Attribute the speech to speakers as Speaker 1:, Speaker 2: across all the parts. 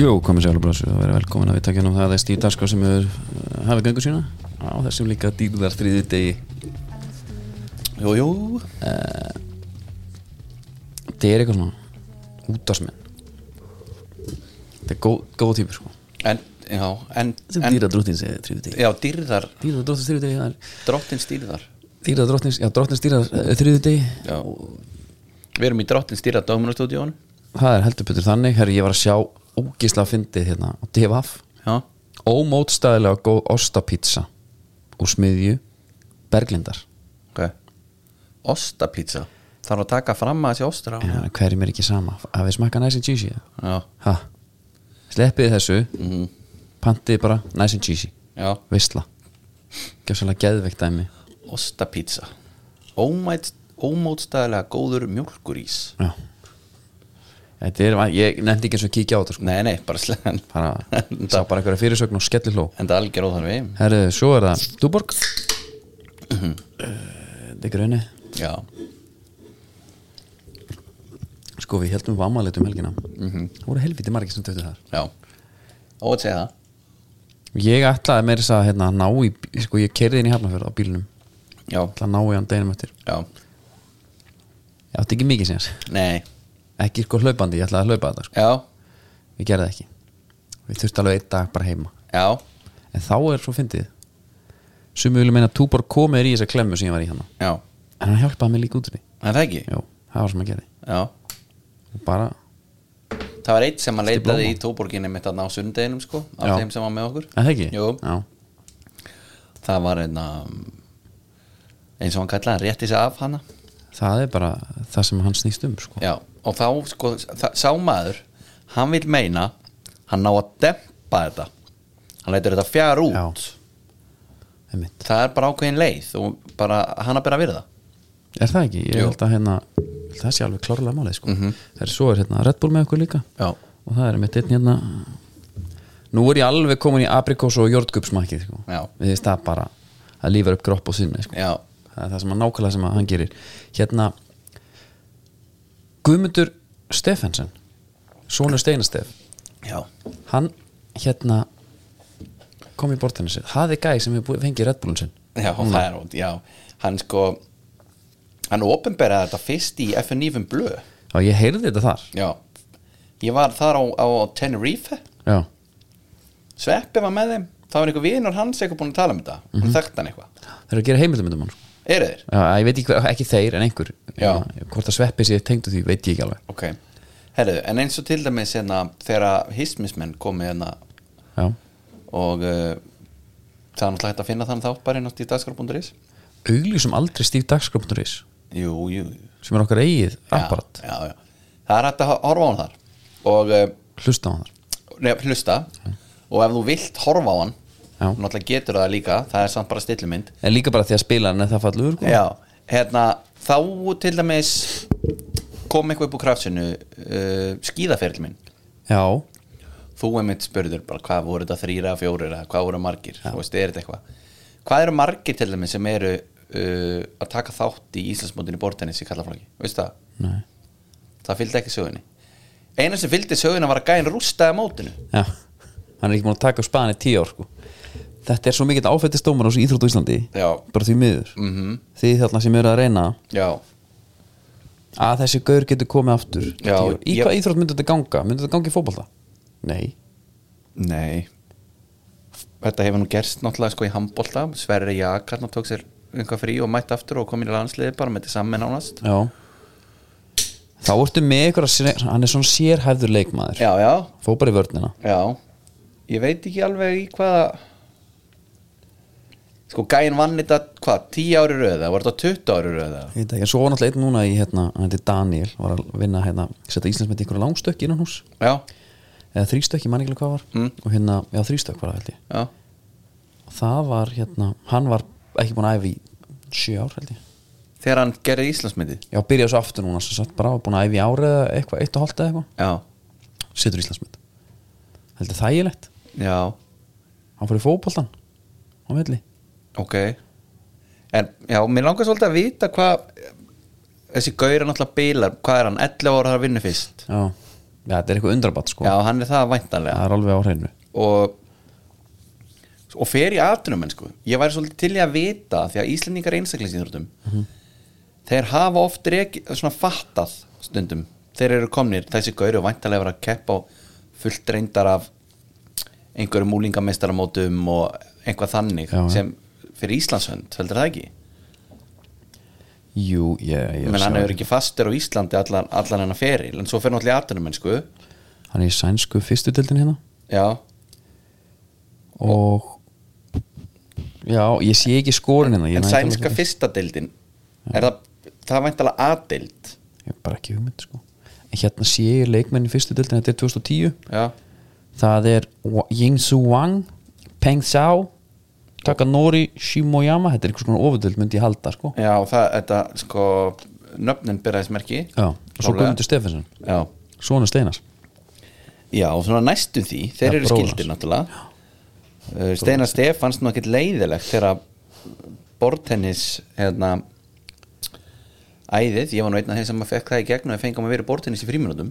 Speaker 1: Jú, komið sjálf og blásur og verið velkomin að við takja um það að það er stíf dagskrá sem hefur uh, hafið gangu sína á þessum líka dýrðar þriði degi
Speaker 2: Jú, jú
Speaker 1: Þetta er eitthvað svona útásmenn Þetta er góð, góð típur sko
Speaker 2: En, já, en,
Speaker 1: Sem
Speaker 2: en
Speaker 1: dýradróttins eða þriði degi
Speaker 2: Já, dýrðar,
Speaker 1: Dýradróttins þriði degi, það er
Speaker 2: drottins dýrðar
Speaker 1: dýradróttins, já eh, dróttins dýrar þriði degi
Speaker 2: Já Við erum í drottins dýrðar Dóminastúdíón
Speaker 1: Það er heldur betur þannig, herri ég var að sjá ógisla fyndið hérna á DFF
Speaker 2: Já,
Speaker 1: Ómótstæðilega góð ostapizza úr smiðju Berglindar
Speaker 2: ok Ostapizza Þarf að taka fram að þessi ostur á
Speaker 1: Já, hverjum er ekki sama að við smakka nice and cheesy eða?
Speaker 2: Já, Mhm.
Speaker 1: ha, sleppið þessu pantið bara nice and cheesy
Speaker 2: já
Speaker 1: visla, gefsalega geðveikt dæmi
Speaker 2: Ostapizza Ómætt, ómótstæðilega góður mjólkurís
Speaker 1: já þetta er, ég nefndi ekki eins og að kíkja á þetta sko.
Speaker 2: Nei, nei, bara slegðan
Speaker 1: bara, sá bara einhverja fyrirsögn og skelli hló
Speaker 2: En það algjör óþarfi
Speaker 1: herru, svo er það Dúborg Eh, þetta er grunni
Speaker 2: Já,
Speaker 1: sko við heldum við ammaliðt um helgina það voru helviti margir sem döttu þar
Speaker 2: já Ó að segja
Speaker 1: ég ætlaði meira þess að hérna, ná í, sko ég kerði inn í hafnafjörð á bílnum
Speaker 2: það Já,
Speaker 1: ætlaði að ná í hann deginum eftir
Speaker 2: já
Speaker 1: ég átti ekki mikið sinns
Speaker 2: Nei,
Speaker 1: ekki sko hlaupandi, ég ætlaði að hlaupa þetta sko.
Speaker 2: já,
Speaker 1: ég gerði það ekki við þurfti alveg einn dag bara heima
Speaker 2: já
Speaker 1: en þá er svo fyndið sumi vilja meina að Túborg komið er í þessa klemmu sem ég var í hana
Speaker 2: Já,
Speaker 1: en hann hjálpaði mér líka út úr því
Speaker 2: en það ekki
Speaker 1: Jó, það var sem að gerði
Speaker 2: Já,
Speaker 1: og bara,
Speaker 2: það var eitt sem að leitaði
Speaker 1: blóma.
Speaker 2: í tóborginni mitt að ná sundeginum sko af
Speaker 1: Já.
Speaker 2: þeim sem var með okkur
Speaker 1: en það ekki
Speaker 2: Jú,
Speaker 1: Já.
Speaker 2: það var einna mm, eins og hann kallaði, hann rétti sig af hana
Speaker 1: það er bara það sem hann snýst um sko.
Speaker 2: Já, og þá sko það, sá maður, hann vil meina hann ná að dempa þetta hann leitur þetta fjár út
Speaker 1: Já. Einmitt.
Speaker 2: það er bara ákveðin leið og bara hann að byrja að virða
Speaker 1: er það ekki, ég
Speaker 2: Jú. Mhm.
Speaker 1: held að hérna ég held að það sé alveg klárlega málið sko. það er svo er hérna Red Bull með okkur líka
Speaker 2: Já,
Speaker 1: og það er mitt einn hérna nú er ég alveg komin í aprikós og jordgupsmakið sko.
Speaker 2: Já.
Speaker 1: við þess það bara að lífa upp gropp og sinni sko.
Speaker 2: já,
Speaker 1: það er það sem að nákvæmlega sem að hann gerir hérna Guðmundur Stefensen Sónur Steinastef
Speaker 2: já,
Speaker 1: hann hérna kom í bortinni sér, það er gæði sem hefur búið- fengið Red Bullun sinn
Speaker 2: já, það er út, já hann sko hann opinberaði þetta fyrst í FNF-um um blöð
Speaker 1: og ég heyrði þetta þar
Speaker 2: Já, ég var þar á, á Tenerife
Speaker 1: já,
Speaker 2: Sveppi var með þeim Það var einhver vinur hans eitthvað búin að tala um þetta mm Hún þekkt hann eitthvað
Speaker 1: þeir eru að gera heimildamöndum hann sko.
Speaker 2: Eru þeir?
Speaker 1: já, ég veit ekki, hver, ekki þeir en einhver
Speaker 2: Já.
Speaker 1: Hérna, hvort að sveppi sér tengdu því veit ég ekki alveg
Speaker 2: Ok Herðu, en eins og til dæmis hérna Þegar hismismenn komið hérna
Speaker 1: já.
Speaker 2: Og uh, það er náttúrulega hægt að finna þann hérna þátt Bara inn á stíðdagskraf.is
Speaker 1: auglýsum aldrei stíf dagskröpnuris
Speaker 2: Jú, jú jú.
Speaker 1: sem er okkar eigið
Speaker 2: Já,
Speaker 1: apparat,
Speaker 2: já, já. Það er hægt að ho- horfa á hann þar Og uh,
Speaker 1: hlusta á hann þar
Speaker 2: nefn, hlusta Og ef þú vilt horfa á hann
Speaker 1: Já.
Speaker 2: Náttúrulega getur það líka Það er samt bara stillumind
Speaker 1: en líka bara því að spila hann er það fallur sko.
Speaker 2: Já, hérna þá til dæmis kom eitthvað upp úr kraftsinu uh, skíðaferil minn
Speaker 1: já.
Speaker 2: þú einmitt spurður bara hvað voru þetta þrýra, fjórir eða hvað voru margir, þú veist, er þetta eitthvað hvað eru margir til dæmis sem eru uh, að taka þátt í Íslandsmótinu bortennis í kallaflagi, veist það?
Speaker 1: Nei.
Speaker 2: það fylgdi ekki sögunni eina sem fylgdi söguna var að gæn rústaði mótinu
Speaker 1: Já, hann er ekki múin að taka upp spaðan í tíu ár sko. Þetta er svo mikill áfættistómar á þessu íþrótt á Íslandi
Speaker 2: Já.
Speaker 1: bara því miður mm -hmm. því þarna sem eru að reyna
Speaker 2: Mhm, já,
Speaker 1: að þessi gaur getur komið aftur í
Speaker 2: Já,
Speaker 1: tíu ár. Í
Speaker 2: ég-
Speaker 1: hvað íþrótt myndi þetta ganga? Myndi þetta ganga í fótbolta? Nei,
Speaker 2: Nei Þetta hefur nú gerst náttúrulega sko í handbolta Sverri Jakarn og tók sér einhvað frí og mætt aftur og kom inn í landsliði bara með þetta saman ánast
Speaker 1: já Þá ertu með ykkur að sér, hann er svona sérhæfður leikmaður
Speaker 2: Já, já,
Speaker 1: Fó bara í vörnina
Speaker 2: já Ég veit ekki alveg í hvaða Sko gæin vann þetta hvað, 10 ári röða, var þetta 20 ári röða
Speaker 1: Ég veit ekki, en svo var náttúrulega einn núna í hérna hann heiti Daniel, var að vinna hérna setja Íslandsmyndi ykkur langstökk innan hús
Speaker 2: Já,
Speaker 1: eða þrýstökk, ég man ekki alveg hvað var
Speaker 2: Mm.
Speaker 1: og hérna, já þrýstökk var það held ég
Speaker 2: já,
Speaker 1: og það var hérna, hann var ekki búin að æfa í sjö ár held ég
Speaker 2: þegar hann gerði Íslandsmyndið
Speaker 1: já, byrjaði svo aftur núna, svo satt bara á, búin að æfa í árið eða eitthvað, eitt og hálft eða eitthvað
Speaker 2: Já,
Speaker 1: setur Íslandsmynd heldur þægilegt,
Speaker 2: já,
Speaker 1: hann fór í fótboltan á milli,
Speaker 2: ok En já, mér langar svolítið að vita hvað Þessi gaur er náttúrulega bílar, hvað er hann, 11 ára að vinna fyrst
Speaker 1: já Já, þetta er eitthvað undrabatt sko
Speaker 2: já, hann er það væntanlega
Speaker 1: Það er alveg á hreinu
Speaker 2: og og fer í atvinnumenn sko ég væri svolítið til í að vita því að Íslendingar einstaklingsýþróttum
Speaker 1: Mhm.
Speaker 2: þeir hafa oft reki, svona fattað stundum, þeir eru komnir þessi gauri og vantarlega vera að keppa á fullt reyndar af einhverjum múlingamestaramótum og einhvað þannig
Speaker 1: Já, já.
Speaker 2: sem fyrir Íslandshönd, heldur það ekki
Speaker 1: Jú, ég, ég
Speaker 2: menn
Speaker 1: sé
Speaker 2: hann
Speaker 1: alveg.
Speaker 2: hefur ekki fastur á Íslandi allan, allan hennar feril, en svo fer náttúrulega í atvinnumenn sko,
Speaker 1: Hann er í sænsku fyrstu dildin hérna
Speaker 2: já
Speaker 1: Og Já, ég sé ekki skorin hérna ég
Speaker 2: en
Speaker 1: næ ekki alveg
Speaker 2: sænska
Speaker 1: til-
Speaker 2: fyrsta deildin er það, það væntalega A-deild
Speaker 1: Ég er bara ekki hugmynd sko En hérna sé ég leikmenn í fyrstu dildin Þetta er 2010
Speaker 2: já,
Speaker 1: Það er Wa- Yingsu Wang Peng Zhao Takanori Shimoyama Þetta er einhvers konar ofudöld myndi ég halda sko
Speaker 2: já og það, þetta sko nöfnin byrjaðismerki
Speaker 1: Já, og svo Guðmundur Stefansson
Speaker 2: já.
Speaker 1: Svona Steinas
Speaker 2: já, og svona næstum því, þeir
Speaker 1: Já,
Speaker 2: eru
Speaker 1: bróðir
Speaker 2: skildir náttúrulega uh, Steinar Stefans nú ekkert leiðilegt þegar bortennis hérna æðið, ég var nú einn af þeim sem að fekk það í gegn og ég fengið að vera bortennis í fríminútum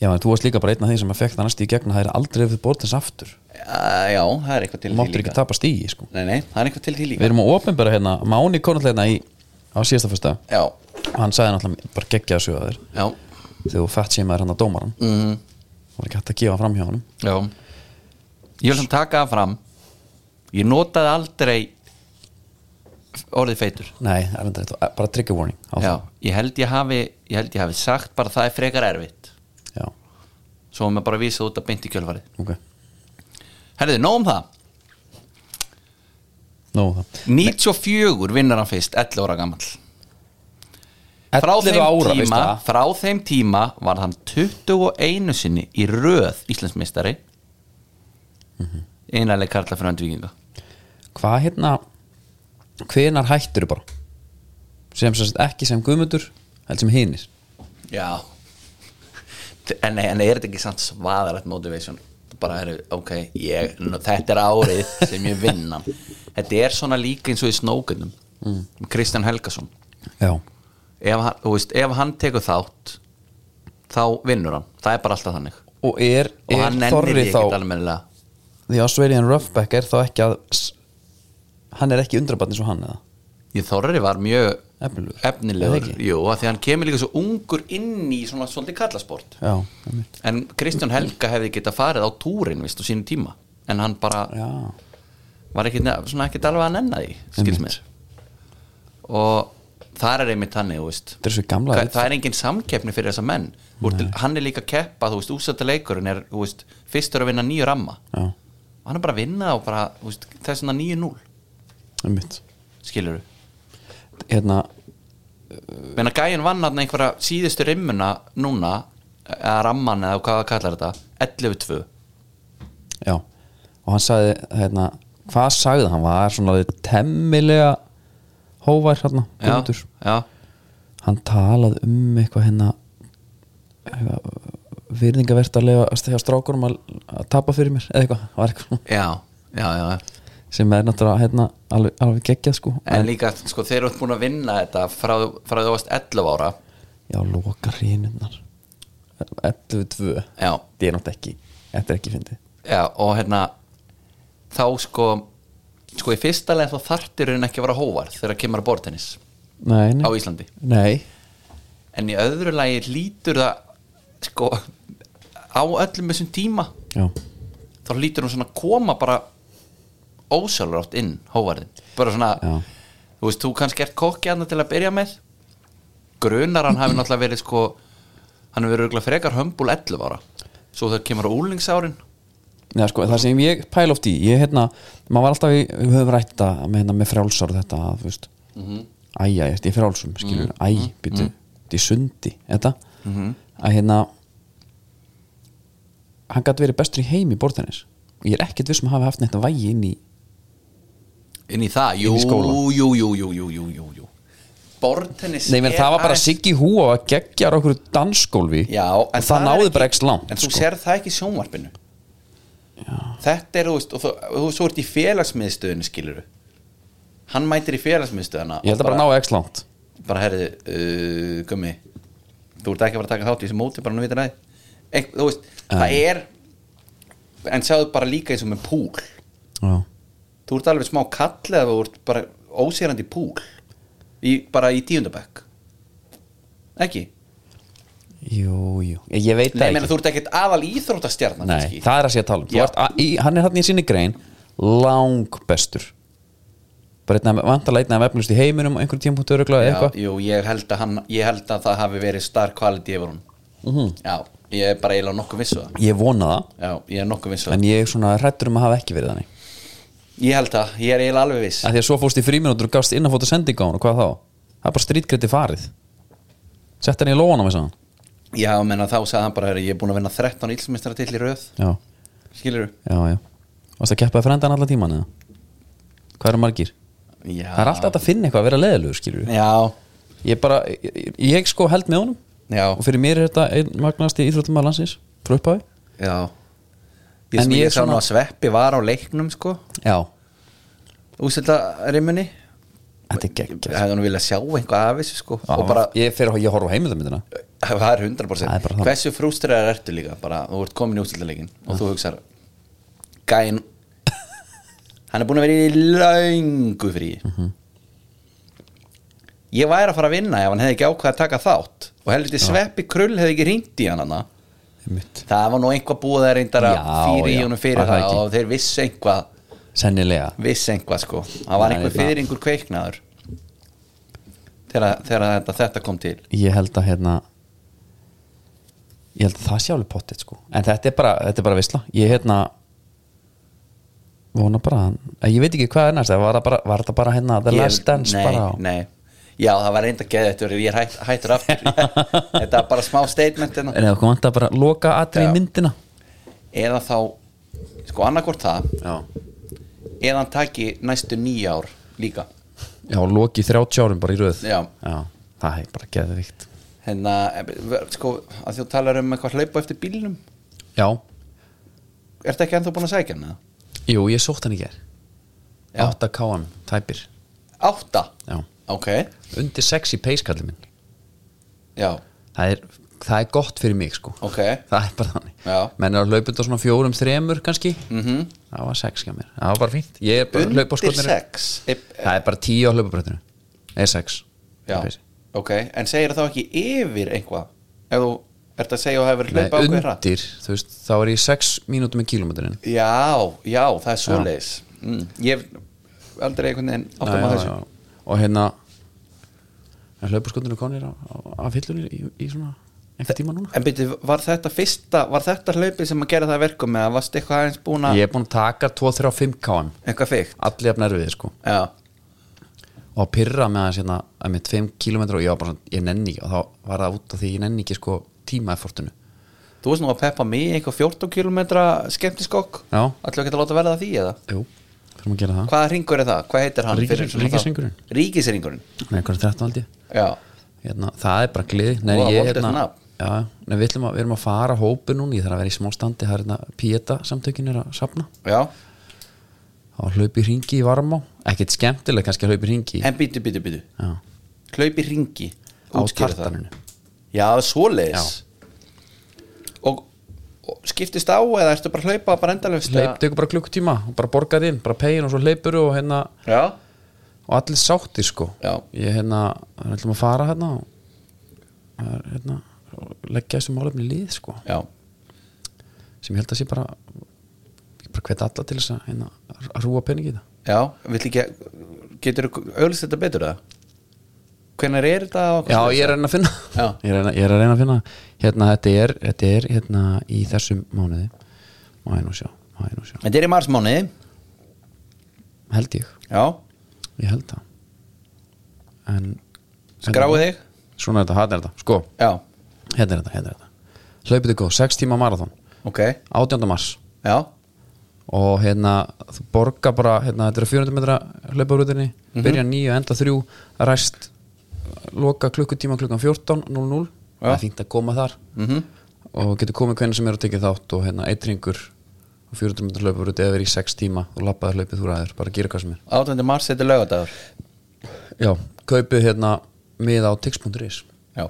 Speaker 1: Já, en þú varst líka bara einn af þeim sem að fekk það næst í gegn að það er aldrei ef þið bortins aftur
Speaker 2: já, það er eitthvað til
Speaker 1: Þú
Speaker 2: því
Speaker 1: máttir ekki
Speaker 2: líka
Speaker 1: tapa stígi sko
Speaker 2: nei, nei, það er eitthvað til því
Speaker 1: Við
Speaker 2: líka
Speaker 1: erum á opinbera hérna, Máni Konall hérna í, á síðasta fyrsta
Speaker 2: já,
Speaker 1: Hann sagði náttúrulega bara geggjaða sögða þér
Speaker 2: já,
Speaker 1: Þegar þú fætt sér maður hann að dómaran
Speaker 2: mhm
Speaker 1: Það var ekki hægt að gefa fram hjá honum
Speaker 2: Já Ég vil samt taka það fram Ég notaði aldrei orðið feitur
Speaker 1: Nei, það er enda rétt, eh, bara trigger warning á
Speaker 2: Já, ég held ég hafi ég held ég hafi sagt bara það er frekar erfitt
Speaker 1: það. Já,
Speaker 2: svo maður bara vísa út að beint í kjölfarið
Speaker 1: ok
Speaker 2: Herðu, nóg um það
Speaker 1: Nú, það
Speaker 2: 94 vinnar hann fyrst, 11 ára gamall Frá
Speaker 1: 11
Speaker 2: þeim,
Speaker 1: ára, veistu
Speaker 2: tíma,
Speaker 1: það?
Speaker 2: frá þeim tíma var hann 21 sinni í röð Íslandsmeistari mm -hmm. einarleg karla fyrir andvíkinga
Speaker 1: Hvað hérna Hvenar hættur bara sem, sem sagt ekki sem guðmundur held sem hinir
Speaker 2: Já En, nei, en er þetta ekki samt svaðarætt motivation bara eru, ok, ég, nú, þetta er árið sem ég vinna þetta er svona líka eins og í snókunum
Speaker 1: Mm.
Speaker 2: Kristján Helgason
Speaker 1: Já,
Speaker 2: ef hann, þú veist, ef hann tekur þátt þá vinnur hann, það er bara alltaf þannig
Speaker 1: og er,
Speaker 2: og
Speaker 1: er
Speaker 2: hann nennir því
Speaker 1: Þorri
Speaker 2: ekkert
Speaker 1: þá
Speaker 2: almennilega
Speaker 1: The Australian Roughback er þá ekki að s- hann er ekki undrabarn eins og hann eða
Speaker 2: ég Þorri var mjög
Speaker 1: efnilegur Er
Speaker 2: efnilegur,
Speaker 1: það ekki?
Speaker 2: jú, af því hann kemur líka svo ungur inn í svona svolítið kallasport
Speaker 1: Já, einmitt.
Speaker 2: en Kristján Helga hefði getað farið á túrin, vist, á sínum tíma en hann bara
Speaker 1: já,
Speaker 2: var ekkit, svona ekkert alveg að nenna því skils mér og það er einmitt þannig, þú veist
Speaker 1: þetta er svo gamla
Speaker 2: Hva, það er engin samkeppni fyrir þessa menn Úr, hann er líka að keppa, þú veist, úsætta leikurinn er, þú veist, fyrstur að vinna nýju ramma
Speaker 1: Já,
Speaker 2: og hann er bara að vinna og bara, þú veist, það er svona nýju núl
Speaker 1: einmitt
Speaker 2: skilur du,
Speaker 1: Hérna,
Speaker 2: menna gæin vann hann einhverja síðustu rimmuna núna e- eða ramman eða hvað það kallar þetta 11-2
Speaker 1: já og hann sagði, hérna, hvað sagði hann var svona alveg temmilega hóvar hérna,
Speaker 2: já,
Speaker 1: Guðmundur
Speaker 2: já,
Speaker 1: hann talaði um eitthvað hérna eitthvað, virðingavert að lega að stegja strákurum að, að tapa fyrir mér eða eitthvað, það var eitthvað
Speaker 2: já, já, já.
Speaker 1: sem er náttúrulega hérna, alveg, alveg geggjað sko
Speaker 2: en líka, sko, þeir eru búin að vinna þetta frá, frá þú varst 11 ára
Speaker 1: já, loka hrinunar 11-2
Speaker 2: Já.
Speaker 1: þetta er náttúrulega ekki, þetta er ekki fyndið
Speaker 2: Já, og hérna þá sko sko í fyrsta leið þá þartir hún ekki að vera hóvarð þegar kemur að bortennis
Speaker 1: nei,
Speaker 2: á
Speaker 1: nei,
Speaker 2: Íslandi
Speaker 1: nei
Speaker 2: en í öðru lagi lítur það sko á öllum þessum tíma
Speaker 1: já,
Speaker 2: þá lítur hún svona koma bara ósjálfur átt inn hóvarðin bara svona,
Speaker 1: Já.
Speaker 2: þú veist, þú kannski ert kokki hann til að byrja með grunar hann hafi náttúrulega verið sko hann hefur verið örugglega frekar hömbul 11 ára svo þegar kemur á úlingsárin
Speaker 1: Nei, sko, það sem ég pæla oft í ég, hérna, maður var alltaf í, við höfum rætt að með, hérna, með frjálsar og þetta að, þú veist, æ, æ, ég er í frjálsum, skilur æ, býtu, þetta er sundi þetta, að hérna hann gæti verið bestur í heimi í borðinnis og ég er ekkert viss um að hafa haft neitt að vægi inn í
Speaker 2: inn í það, jú,
Speaker 1: Inn í skólann.
Speaker 2: jú, jú, jú, jú, jú, jú, jú. bortennis
Speaker 1: Nei, menn,
Speaker 2: er
Speaker 1: það var bara
Speaker 2: aðeins-
Speaker 1: Siggi Hú á að geggja á okkur dansgólfi
Speaker 2: já,
Speaker 1: og
Speaker 2: en
Speaker 1: það, náði
Speaker 2: er ekki-
Speaker 1: bara ekki langt
Speaker 2: en þú
Speaker 1: sko.
Speaker 2: sér það ekki í sjónvarpinu þetta er, þú veist, og þú, og þú svo ert í félagsmiðstöðinu skilur hann mætir í félagsmiðstöðina
Speaker 1: ég held að bara náði ekki langt
Speaker 2: bara herði, uh, gummi þú ert ekki að fara að taka þátt í þessu móti, bara nú vitir það Ein, þú veist, það er en sjáðu bara líka eins og með púl
Speaker 1: já,
Speaker 2: þú ert alveg smá kall eða þú ert bara ósýrandi púl í, bara í tíundabæk ekki?
Speaker 1: jú, jú ég, ég veit
Speaker 2: Nei,
Speaker 1: það
Speaker 2: meina,
Speaker 1: ekki
Speaker 2: þú ert ekkert aðal íþróttastjarnan
Speaker 1: Nei,
Speaker 2: kannski.
Speaker 1: það er að sé að tala um Þú
Speaker 2: Já.
Speaker 1: ert, að, í, hann er hann í sinni grein lang bestur bara einna, vantarlega einna af efnlust í heiminum á einhverjum tímpúntu öruglega
Speaker 2: Já,
Speaker 1: eða eitthvað
Speaker 2: jú, ég held, að hann, ég held að það hafi verið star quality yfir hún
Speaker 1: Mhm.
Speaker 2: Já, ég er bara eiginlega nokkuð vissu það
Speaker 1: ég vona það,
Speaker 2: Já, ég er nokkuð vissu það
Speaker 1: en ég er svona hrættur um að hafa ekki verið þannig
Speaker 2: Ég held það, ég er eiginlega alveg viss
Speaker 1: að því að svo fórst í fríminútur og gafst innanfóta sending á hún og hvað þá það er bara strítgrétti farið sett hann í lóana með sann
Speaker 2: Já, menna þá sagði hann bara, "Herri, ég er búin að vinna 13 ílsmeistara til í röð
Speaker 1: já,
Speaker 2: Skilur þú?
Speaker 1: já, já varst að keppa að frenda hann alla tíman eða hvað eru margir?
Speaker 2: Já,
Speaker 1: það er alltaf hægt að finna eitthvað að vera leðilegur skilur við.
Speaker 2: Já,
Speaker 1: ég bara, ég, ég sko held með honum
Speaker 2: já,
Speaker 1: og fyrir mér er þetta einn magnasti íþróttum að landsins frá upphafi
Speaker 2: já Ég,
Speaker 1: En
Speaker 2: sem
Speaker 1: ég
Speaker 2: ég,
Speaker 1: er
Speaker 2: sá nú
Speaker 1: svona-
Speaker 2: að Sveppi var á leiknum, sko
Speaker 1: já,
Speaker 2: Úsilda rimmunni
Speaker 1: þetta er
Speaker 2: Ég
Speaker 1: geggjast
Speaker 2: hefði nú viljað sjá eitthvað af þessu, sko Og bara,
Speaker 1: ég fer að ég horfa á heimildamindina
Speaker 2: það er
Speaker 1: Það er bara
Speaker 2: 100%
Speaker 1: þannig.
Speaker 2: Hversu frústræðar ertu líka, bara, þú ert komin í úsildaleikin Og þú hugsar, gæin Hann er búin að vera í löngu frí
Speaker 1: Mhm.
Speaker 2: Ég væri að fara að vinna ef hann hefði ekki ákveð að taka þátt Og helviti Sveppi Krull hefði ekki ringt í hann hana
Speaker 1: Einmitt.
Speaker 2: Það var nú einhvað búið að reyndar að
Speaker 1: Já,
Speaker 2: fyrir í
Speaker 1: já,
Speaker 2: honum fyrir
Speaker 1: var það
Speaker 2: það
Speaker 1: ekki?
Speaker 2: og þeir vissu einhvað,
Speaker 1: sennilega
Speaker 2: vissu einhvað sko það var
Speaker 1: Nei,
Speaker 2: einhver
Speaker 1: það-
Speaker 2: fyrir einhver kveiknaður þegar, þegar þetta, þetta kom til
Speaker 1: ég held að hérna ég held að það sé alveg pottet sko en þetta er bara, þetta er bara visla ég hérna vona bara, að hann- ég veit ekki hvað er næst var, það bara, var þetta bara hérna the
Speaker 2: Ég-
Speaker 1: last dance
Speaker 2: nei,
Speaker 1: bara á
Speaker 2: nei. Já, það var reynda geðið þetta ég er hætt, hættur aftur þetta var bara smá statement hérna.
Speaker 1: en eða okkur vant að bara loka atri í
Speaker 2: Já.
Speaker 1: myndina
Speaker 2: eða þá, sko annarkvort það
Speaker 1: já,
Speaker 2: eða hann taki næstu nýja ár líka
Speaker 1: já loki 30 árum bara í röð
Speaker 2: Já.
Speaker 1: það er bara geðvikt
Speaker 2: hérna, eh, sko, að þú talar um eitthvað hlaupa eftir bílnum
Speaker 1: já,
Speaker 2: ertu ekki ennþá búin að sækja hann? eða?
Speaker 1: jú, ég sótt hann í ger
Speaker 2: Já.
Speaker 1: 8KM, tæpir
Speaker 2: Átta?
Speaker 1: já.
Speaker 2: Ok,
Speaker 1: undir 6 í peiskallin minn
Speaker 2: já,
Speaker 1: það er, það er gott fyrir mig sko
Speaker 2: ok
Speaker 1: það er bara þannig
Speaker 2: Já.
Speaker 1: menn er að hlaupa þetta svona fjórum, þremur kannski
Speaker 2: mm
Speaker 1: það var sex hjá mér, það var bara fínt ég er bara
Speaker 2: Undir
Speaker 1: hlaupaskotnir-
Speaker 2: sex e-
Speaker 1: það er bara tíu á hlaupabröðinu eða sex
Speaker 2: Já,
Speaker 1: Peysi.
Speaker 2: ok, en segir þá ekki yfir einhvað ef þú ert að segja og hefur
Speaker 1: Nei,
Speaker 2: hlaupa ákveðra
Speaker 1: undir, þú veist, þá er ég sex mínútum með kílómetrin
Speaker 2: Já, já, það er svoleiðis mm, Ég hef aldrei einhvern veginn áttum að þessu
Speaker 1: og hérna hlaupaskotnir konir á, á, á fyllunni í, í svona einhver tíma núna
Speaker 2: En byrju, var þetta fyrsta, var þetta hlaupið sem að gera það að verkum eða varst eitthvað aðeins búin að
Speaker 1: ég er búin að taka 2, 3, 5 km
Speaker 2: eitthvað fíkt?
Speaker 1: allir jafn erfið sko
Speaker 2: Já,
Speaker 1: og að pyrra með hans hérna að með 5 km og ég var bara svona, ég nenni ekki og þá var það út af því ég nenni ekki sko tíma effortinu
Speaker 2: þú veist nú að peppa mig í einhver 14 km skemmtiskokk
Speaker 1: Já.
Speaker 2: Ætlum við geta að láta verða því eða?
Speaker 1: Jú, fyrir að gera það
Speaker 2: Hvaða ringur er það? Hvað heitir hann?
Speaker 1: Ríkis-
Speaker 2: fyrir svona þá?
Speaker 1: Ríkishringurinn.
Speaker 2: Ríkisringurinn,
Speaker 1: Nei, einhverjum 13 held ég
Speaker 2: já
Speaker 1: hérna, Það er bara gleði Nei,
Speaker 2: Voða
Speaker 1: ég,
Speaker 2: voldið
Speaker 1: hérna,
Speaker 2: nafn.
Speaker 1: já, nei, við, ætlum að, við erum að fara hópu núna Ég þarf að vera í smá standi Það er hérna Pieta samtökin er að safna
Speaker 2: Já,
Speaker 1: Og hlaupi hringi í varmá Ekkert skemmtileg kannski að hlaupi hringi
Speaker 2: en býtu, býtu, býtu
Speaker 1: Já,
Speaker 2: Hlaupi ringi
Speaker 1: á
Speaker 2: Útskýrðu það.
Speaker 1: tartaninu
Speaker 2: Já, það er svoleiðis og, og skiptist á eða ertu bara að hlaupa bara endalaust
Speaker 1: Hleyp,
Speaker 2: eða-
Speaker 1: tekur bara klukkutíma og bara borgar inn, bara pegin og svo hleypur og hérna
Speaker 2: Já,
Speaker 1: og allir sáttir sko
Speaker 2: Já.
Speaker 1: ég hérna, við ætlum að fara hérna og það er, hérna og leggja þessu málefni í lið sko
Speaker 2: já,
Speaker 1: sem ég held að sé bara ég bara hvet alla til þess að, hérna, að rúa peningi í það
Speaker 2: já Vill ekki, getur þú auðvist þetta betur það? Hvenær er þetta? og hvað
Speaker 1: Já, ég
Speaker 2: svoleiðis?
Speaker 1: er að reyna að finna
Speaker 2: Já.
Speaker 1: ég, er að reyna, ég er að reyna að finna hérna, þetta er, þetta er hérna, í þessum mánuði má ég nú sjá, má ég nú sjá
Speaker 2: Þetta er í marsmáni
Speaker 1: held ég,
Speaker 2: Já,
Speaker 1: ég held það en
Speaker 2: skráið þig
Speaker 1: svona er þetta, hérna er þetta, sko
Speaker 2: Já,
Speaker 1: hérna er þetta, hérna er þetta hlaupið er góð, 6 tíma marathon
Speaker 2: ok,
Speaker 1: 18. mars
Speaker 2: já
Speaker 1: og hérna þú borga bara, hérna þetta er 400 metra hlauparútinni, byrja nýju, enda þrjú ræst, loka klukkutíma klukkan 14.00
Speaker 2: Já.
Speaker 1: það er fínt að koma þar
Speaker 2: mm
Speaker 1: og getur komið hvernig sem er að tekið þátt og hérna eitt ringur og 400 metra hlauparúti eða verið í 6 tíma og lappaði hlaupið þú ræður, bara gera hvað sem er
Speaker 2: 18. mars, þetta er laugadagur
Speaker 1: já, kaupið hérna miða á tix.is,
Speaker 2: Já,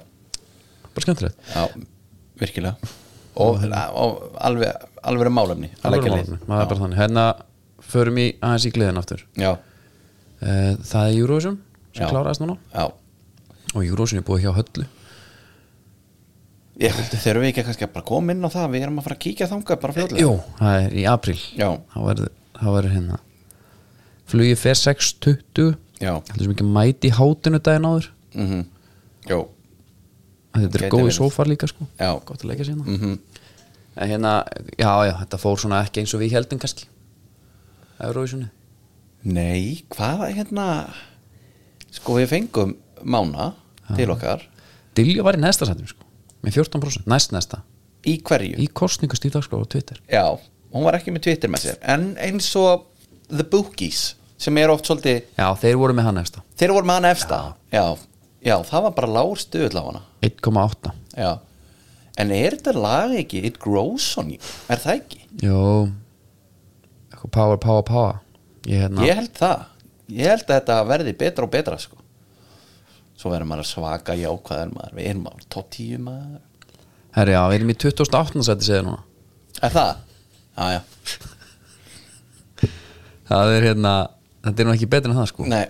Speaker 1: bara skemmtilegt
Speaker 2: já, virkilega og, og alveg, alveg málefni
Speaker 1: Alveg
Speaker 2: alveg
Speaker 1: málefni, maður er bara þannig Hérna förum í aðeins í gleðin aftur
Speaker 2: já,
Speaker 1: Eh, Það er Eurovision sem
Speaker 2: Já.
Speaker 1: kláraðist núna
Speaker 2: já
Speaker 1: og Eurovision er búið hjá höllu
Speaker 2: Ég, þurfum við ekki kannski að bara koma inn á það við erum að fara að kíkja þangað bara fljóðlega
Speaker 1: Jú, það er í april
Speaker 2: Já.
Speaker 1: þá verður- þá verður hérna flugið fer 6.20
Speaker 2: já,
Speaker 1: heldur sem ekki mæti í hátinu daginn áður
Speaker 2: mm já,
Speaker 1: að þetta er
Speaker 2: Gæti
Speaker 1: góði
Speaker 2: verið.
Speaker 1: sófar líka sko
Speaker 2: Já. Mhm.
Speaker 1: gott að leika sér hérna en hérna, já já, þetta fór svona ekki eins og við heldum kannski Eurovisioni
Speaker 2: nei, hvað hérna sko við fengum mána til okkar
Speaker 1: Dilja var í neðsta sætum sko með 14% næst næsta
Speaker 2: í hverju
Speaker 1: í kostningast í dag sko á Twitter
Speaker 2: Já, hún var ekki með Twitter með sér En eins og The Bookies sem er oft svolítið,
Speaker 1: já, þeir voru með hann næsta
Speaker 2: þeir voru með hann efsta Já, já, það var bara lágur stuðull á hana
Speaker 1: 1,8
Speaker 2: Já En er þetta lag ekki, it grows on you Er það ekki?
Speaker 1: Jó Eitthvað power, power, power Ég hérna
Speaker 2: Ég held það Ég held að þetta verði betra og betra sko Svo verður maður að svaka jákvæðar maður Við erum maður top 10 maður
Speaker 1: Herri, já, við erum í 2018 sæti segir núna
Speaker 2: Er það? Já, já,
Speaker 1: Það er hérna Þetta er nú ekki betur en það sko
Speaker 2: nei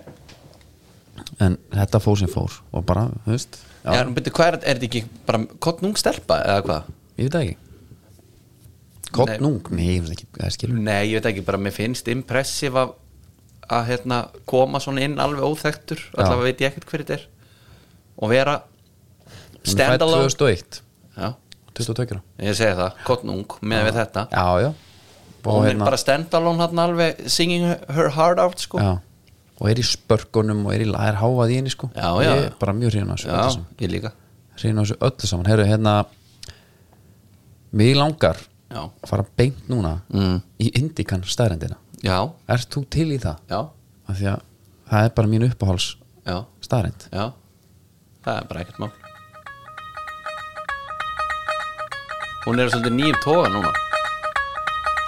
Speaker 1: En þetta fór sem fór Og bara, þú veist
Speaker 2: Já,
Speaker 1: já,
Speaker 2: en byrju, hvað er, er þetta ekki bara kottnung stelpa eða hvað?
Speaker 1: Ég veit það ekki Kottnung, nei, ég veist ekki Það skilur
Speaker 2: Nei, ég veit ekki, bara mér finnst impressiv að, að hérna, koma svona inn alveg óþektur, allavega veit ég ekkert hver þetta er og vera stand
Speaker 1: Hún er
Speaker 2: alone
Speaker 1: fædd 2001,
Speaker 2: Já,
Speaker 1: 22 ára.
Speaker 2: ég segi það, kottnung með við þetta,
Speaker 1: Já, já
Speaker 2: og hérna- hún
Speaker 1: hérna,
Speaker 2: er bara stand alone hann alveg singing her heart out sko
Speaker 1: Já Og er í spörkunum og er í er hávað í henni sko
Speaker 2: Já, já.
Speaker 1: Ég er bara mjög hrýna þessu öllu
Speaker 2: Já,
Speaker 1: saman.
Speaker 2: ég líka
Speaker 1: Hrifinn á þessu öllu saman Herru, hérna Mig langar
Speaker 2: Já,
Speaker 1: að fara beint núna
Speaker 2: Mm.
Speaker 1: í Indikan staðrendina
Speaker 2: já,
Speaker 1: Ert þú til í það?
Speaker 2: já,
Speaker 1: Af því að það er bara mín uppáhals
Speaker 2: já,
Speaker 1: staðrend
Speaker 2: já. það er bara ekkert mál Hún er svolítið nýjum tóga núna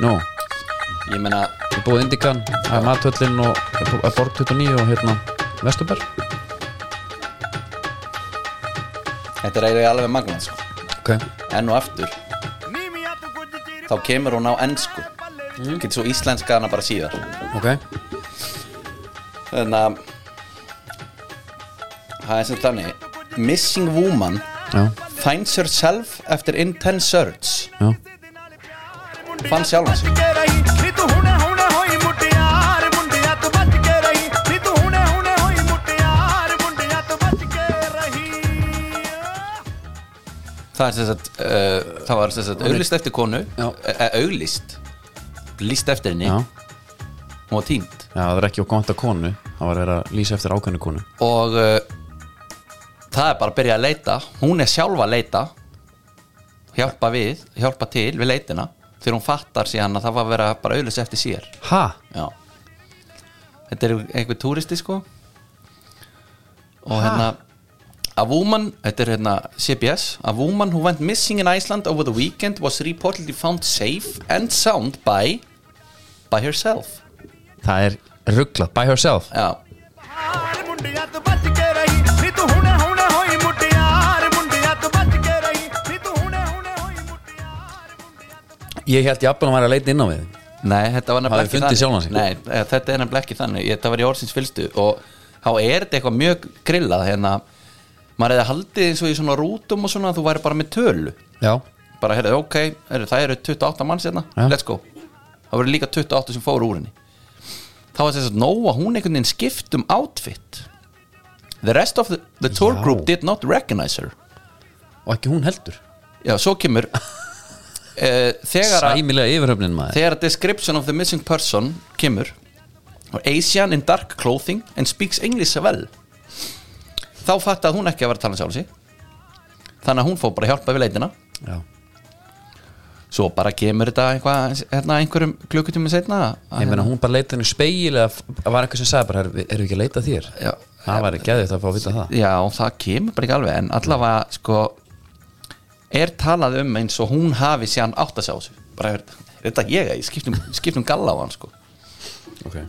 Speaker 1: Nú,
Speaker 2: Ég meina,
Speaker 1: ég búið Indikan að matvöllin og að Borg 29 og hérna Vesturberg
Speaker 2: þetta er eiginlega alveg magnað sko
Speaker 1: okay.
Speaker 2: enn og aftur þá kemur hún á ennsku getur svo íslenska hana bara síðar
Speaker 1: ok
Speaker 2: þannig að það er sem þannig Missing Woman
Speaker 1: Já,
Speaker 2: finds herself after intense search
Speaker 1: já
Speaker 2: fann sjálfan sig það er sem sagt uh, það var sem sagt auglist eftir konu
Speaker 1: Já.
Speaker 2: eh, auglist líst eftir henni
Speaker 1: Já,
Speaker 2: hún var týnd
Speaker 1: já það er ekki okkur vanta konu það var að vera að lýsa eftir ákveðnu konu
Speaker 2: og uh, það er bara að byrja að leita hún er sjálfa að leita hjálpa við, hjálpa til við leitina þegar hún fattar síðan að það var að vera bara auðlis eftir sér
Speaker 1: Ha?
Speaker 2: Já. þetta er einhver túristi sko og hérna a woman, þetta er hérna CBS a woman who went missing in Iceland over the weekend was reportedly found safe and sound by by herself
Speaker 1: Það er rugglað, by herself
Speaker 2: já,
Speaker 1: Ég held ég að hann væri að leita inn á við
Speaker 2: Nei, þetta var nefnilega
Speaker 1: Hafði
Speaker 2: ekki
Speaker 1: fundið
Speaker 2: þannig
Speaker 1: sjálfan sig?
Speaker 2: Nei, eh, þetta er nefnilega ekki þannig Þetta var í orðsins fylstu og þá er þetta eitthvað mjög grillað hérna, maður hefði haldið eins og í svona rútum og svona að þú væri bara með tölu
Speaker 1: Já,
Speaker 2: bara, heyrðu, ok, heyrðu, það eru 28 manns hérna
Speaker 1: Já.
Speaker 2: let's go það voru líka 28 sem fóru úr henni þá var þess að Nóa, hún einhvern veginn skipt um outfit the rest of the, the tour
Speaker 1: Já.
Speaker 2: group did not recognize her
Speaker 1: og ekki hún heldur
Speaker 2: Já, svo kemur uh, þegar að
Speaker 1: Sæmilega yfirhöfnin maður
Speaker 2: Þegar description of the missing person kemur og Asian in dark clothing and speaks English well þá fatt að hún ekki að vera að tala um sjálf sig þannig að hún fór bara að hjálpa við leitina
Speaker 1: Já,
Speaker 2: svo bara kemur þetta einhvað, hérna, einhverjum klukkutími setna
Speaker 1: ég meina hún bara leita henni speil eða f- var eitthvað sem sagði bara, erum við, erum við ekki að leita að þér?
Speaker 2: Já.
Speaker 1: Það væri geðið að fá að vita það
Speaker 2: Já, það kemur bara ekki alveg en allavega sko er talað um eins og hún hafi síðan átt að sjá sig bara, er þetta ég, ég skiptum, skiptum galla á hann sko
Speaker 1: Ok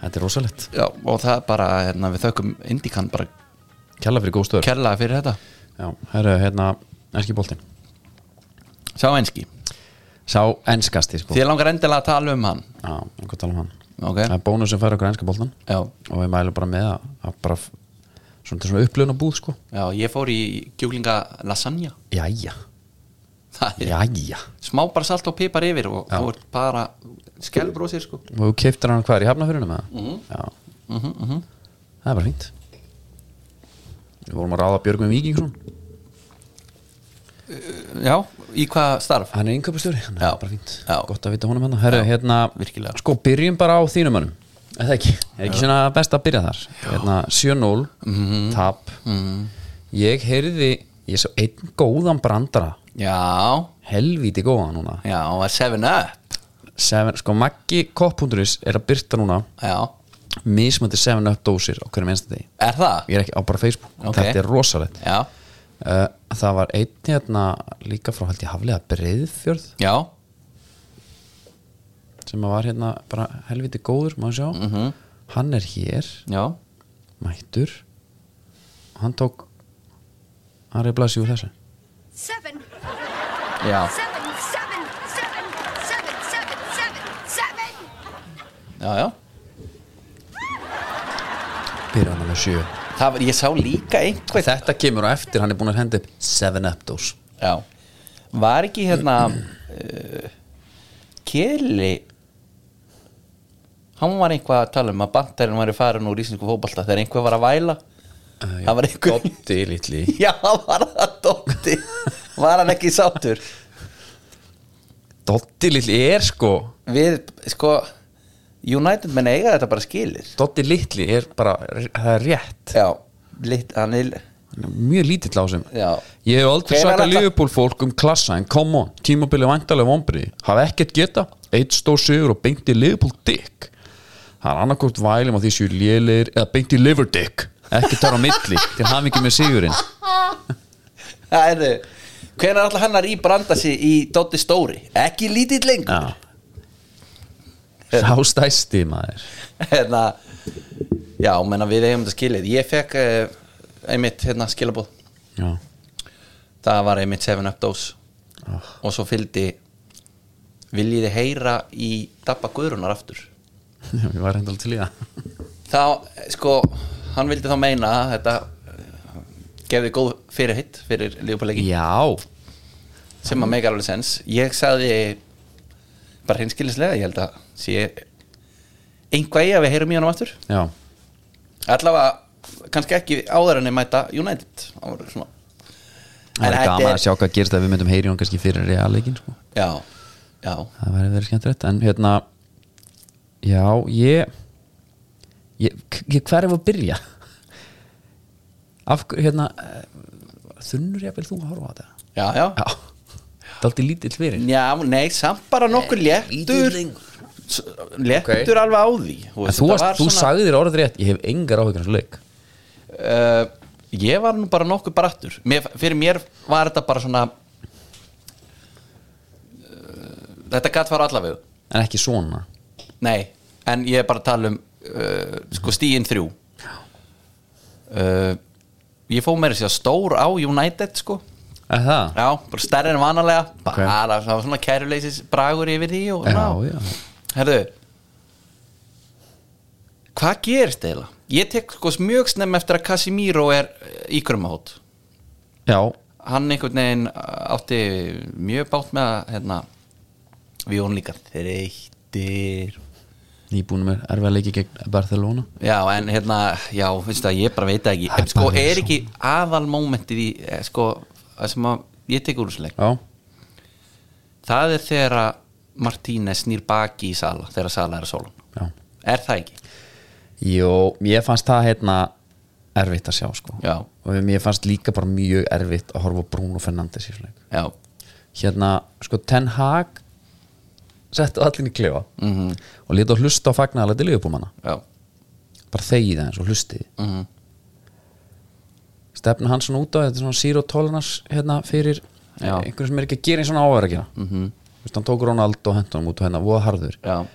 Speaker 1: Þetta er rosalegt,
Speaker 2: Já, og það er bara, hérna, við þökkum Indikan bara
Speaker 1: kjalla fyrir góð stöður
Speaker 2: kærlega fyrir þetta
Speaker 1: Já, herru, hérna, ennski boltinn
Speaker 2: sá enski
Speaker 1: sá enskasti sko
Speaker 2: þér langar endilega að tala um hann
Speaker 1: Já, einhvern tala um hann
Speaker 2: Ok.
Speaker 1: Það er bónus sem fær okkur enska boltan
Speaker 2: já,
Speaker 1: og við mælum bara með að, að bara f- svona, til svona upplöðun og búð sko
Speaker 2: já ég fór í kjúklinga lasagna
Speaker 1: Jæja,
Speaker 2: það er
Speaker 1: jæja
Speaker 2: smá bara salt og pipar yfir og þá er bara skelbrósir sko
Speaker 1: og þú keiptir hann hvað er í hafnafyrunum eða? Já, Mhm, það er bara fínt Við vorum að ráða Björgum Víkingsson
Speaker 2: já, í hvað starf?
Speaker 1: Hann er yngöpustjóri, hann
Speaker 2: Já.
Speaker 1: er bara fínt
Speaker 2: Já.
Speaker 1: Gott að vita honum hann Herru, hérna,
Speaker 2: virkilega.
Speaker 1: sko byrjum bara á þínum mönnum Er það ekki, er ekki svona best að byrja þar Hérna, 7-0
Speaker 2: Mhm.
Speaker 1: Tap Ég heyrði, ég svo einn góðan brandara
Speaker 2: já,
Speaker 1: Helvíti góðan núna
Speaker 2: já, og 7up
Speaker 1: Seven, Sko Maggi Kopp.is er að byrta núna
Speaker 2: já,
Speaker 1: Mismöndi 7-up dósir á hverjum einsta degi
Speaker 2: er það?
Speaker 1: Ég er ekki á bara Facebook
Speaker 2: Ok.
Speaker 1: Þetta er rosalegt
Speaker 2: já,
Speaker 1: uh, Það var einn hérna líka frá held ég haflega Breiðfjörð
Speaker 2: já,
Speaker 1: sem að var hérna bara helviti góður má sjá, hann er hér
Speaker 2: já
Speaker 1: mættur hann tók hann reyði blasið úr þessu
Speaker 3: seven,
Speaker 2: já,
Speaker 3: seven, seven, seven, seven, seven, seven, seven.
Speaker 2: já, já
Speaker 1: byrja hann með sjö
Speaker 2: það var, ég sá líka einhver
Speaker 1: þetta kemur á eftir, hann er búin að henda upp 7up dós
Speaker 2: Já Var ekki hérna uh, Keli Hann var eitthvað að tala um að bandarinn var farin úr íslensku fótbolta þegar einhver var að væla Það var einhver
Speaker 1: Eh, Doddi litli
Speaker 2: Já, var það Dótti Var hann ekki sáttur
Speaker 1: Doddi litli er sko
Speaker 2: Við, sko United menn eiga þetta bara skilir
Speaker 1: Doddi litli er bara, það er rétt
Speaker 2: Já, lit, hann er
Speaker 1: mjög lítill á sem
Speaker 2: Já.
Speaker 1: ég hef aldrei
Speaker 2: Hvenær
Speaker 1: sagt að
Speaker 2: ætla-
Speaker 1: Liverpool fólk um klassa en come on, tímabilið vantarlega vombriði hafa ekkert geta, eitt stór sigur og beint í Liverpool dick það er annarkort vælum á því séu lélir eða beint í liver dick, ekki þar á milli til hafði ekki með sigurinn
Speaker 2: Það er þau Hvenær alltaf hann er í brandasi í Dótti Stóri Ekki lítill lengur
Speaker 1: Já.
Speaker 2: Eh.
Speaker 1: sá stæsti maður
Speaker 2: hérna, já, menna við eigum þetta skilið ég fekk uh, einmitt hérna, skilabóð
Speaker 1: já,
Speaker 2: það var einmitt 7up dose
Speaker 1: Ah.
Speaker 2: og svo fylgdi viljiði heyra í Dabba Guðrunar aftur
Speaker 1: ég var hendal til í það
Speaker 2: þá, sko, hann vildi þá meina að þetta eh, gefði góð fyrirhitt fyrir lífupáleiki
Speaker 1: já,
Speaker 2: sem að meikar alveg sens ég sagði bara hinskilislega, ég held að sé einhvað ég að við heyrum í hann aftur
Speaker 1: já,
Speaker 2: allavega kannski ekki áður en ég mæta United Það voru svona.
Speaker 1: það
Speaker 2: En
Speaker 1: er
Speaker 2: þetta
Speaker 1: gaman
Speaker 2: er-
Speaker 1: að sjá hvað gerst ef við myndum heyri hún kannski fyrir realleikin sko.
Speaker 2: já, já,
Speaker 1: það væri verið skemmtilegt en hérna já, ég, ég, ég hver er að byrja af hverju hérna eh, þunnur ég að þú að horfa á þetta
Speaker 2: já, já.
Speaker 1: já, það er aldrei lítill fyrir
Speaker 2: já nei, samt bara nokkur léttur S- léttur
Speaker 1: Ok.
Speaker 2: alveg á því
Speaker 1: en þú, varst, þú sagði þér orðið rétt ég hef engar áhyggjur af þessu leik
Speaker 2: uh, ég var nú bara nokkuð brattur mér, fyrir mér var þetta bara svona uh, þetta gatt var allavegu
Speaker 1: en ekki svona
Speaker 2: Nei, en ég er bara að tala um uh, sko stíin þrjú uh, Ég fóð meira sér stór á United sko
Speaker 1: er það?
Speaker 2: Já, bara stærri en vanalega
Speaker 1: Ok.
Speaker 2: bara, það var svona kæruleysis bragur yfir því og,
Speaker 1: já, já,
Speaker 2: Herðu Hvað gerist eiginlega? Ég tek sko mjög snemm eftir að Casimiro er eh, í krumahót
Speaker 1: já
Speaker 2: Hann einhvern veginn eh, átti mjög bátt með að hérna, við hún líka þreyttir
Speaker 1: nýbúnum er erfið að leiki gegn Barcelona
Speaker 2: Já, en hérna, já, veistu það, ég bara veit það ekki
Speaker 1: Það er
Speaker 2: En sko,
Speaker 1: bara
Speaker 2: er
Speaker 1: svo.
Speaker 2: ekki aðalmómentið í, eh, sko, það sem að ég tek úr þessu leik
Speaker 1: já,
Speaker 2: Það er þegar að Martínez snýr baki í Sala, þegar Sala er að sóla
Speaker 1: já
Speaker 2: Er það ekki?
Speaker 1: Jó, ég fannst það hérna erfitt að sjá sko
Speaker 2: Já.
Speaker 1: og mér fannst líka bara mjög erfitt að horfa á Bruno Fernandes í svona leik.
Speaker 2: Já,
Speaker 1: hérna, sko Ten Hag settu allir í klefa -hmm. og leta að hlusta á fagnaðalega til liðbúmanna
Speaker 2: mhm, já, mhm,
Speaker 1: bara þegið aðeins og hlustið mm -hmm. stefna hann svona út á þetta er svona zero tolerance hérna fyrir
Speaker 2: Já. Mhm.
Speaker 1: einhverjum sem er ekki að gera eins og hann áver að gera mm -hmm. hann tók Ronald og hentum út og hérna voða harður
Speaker 2: já,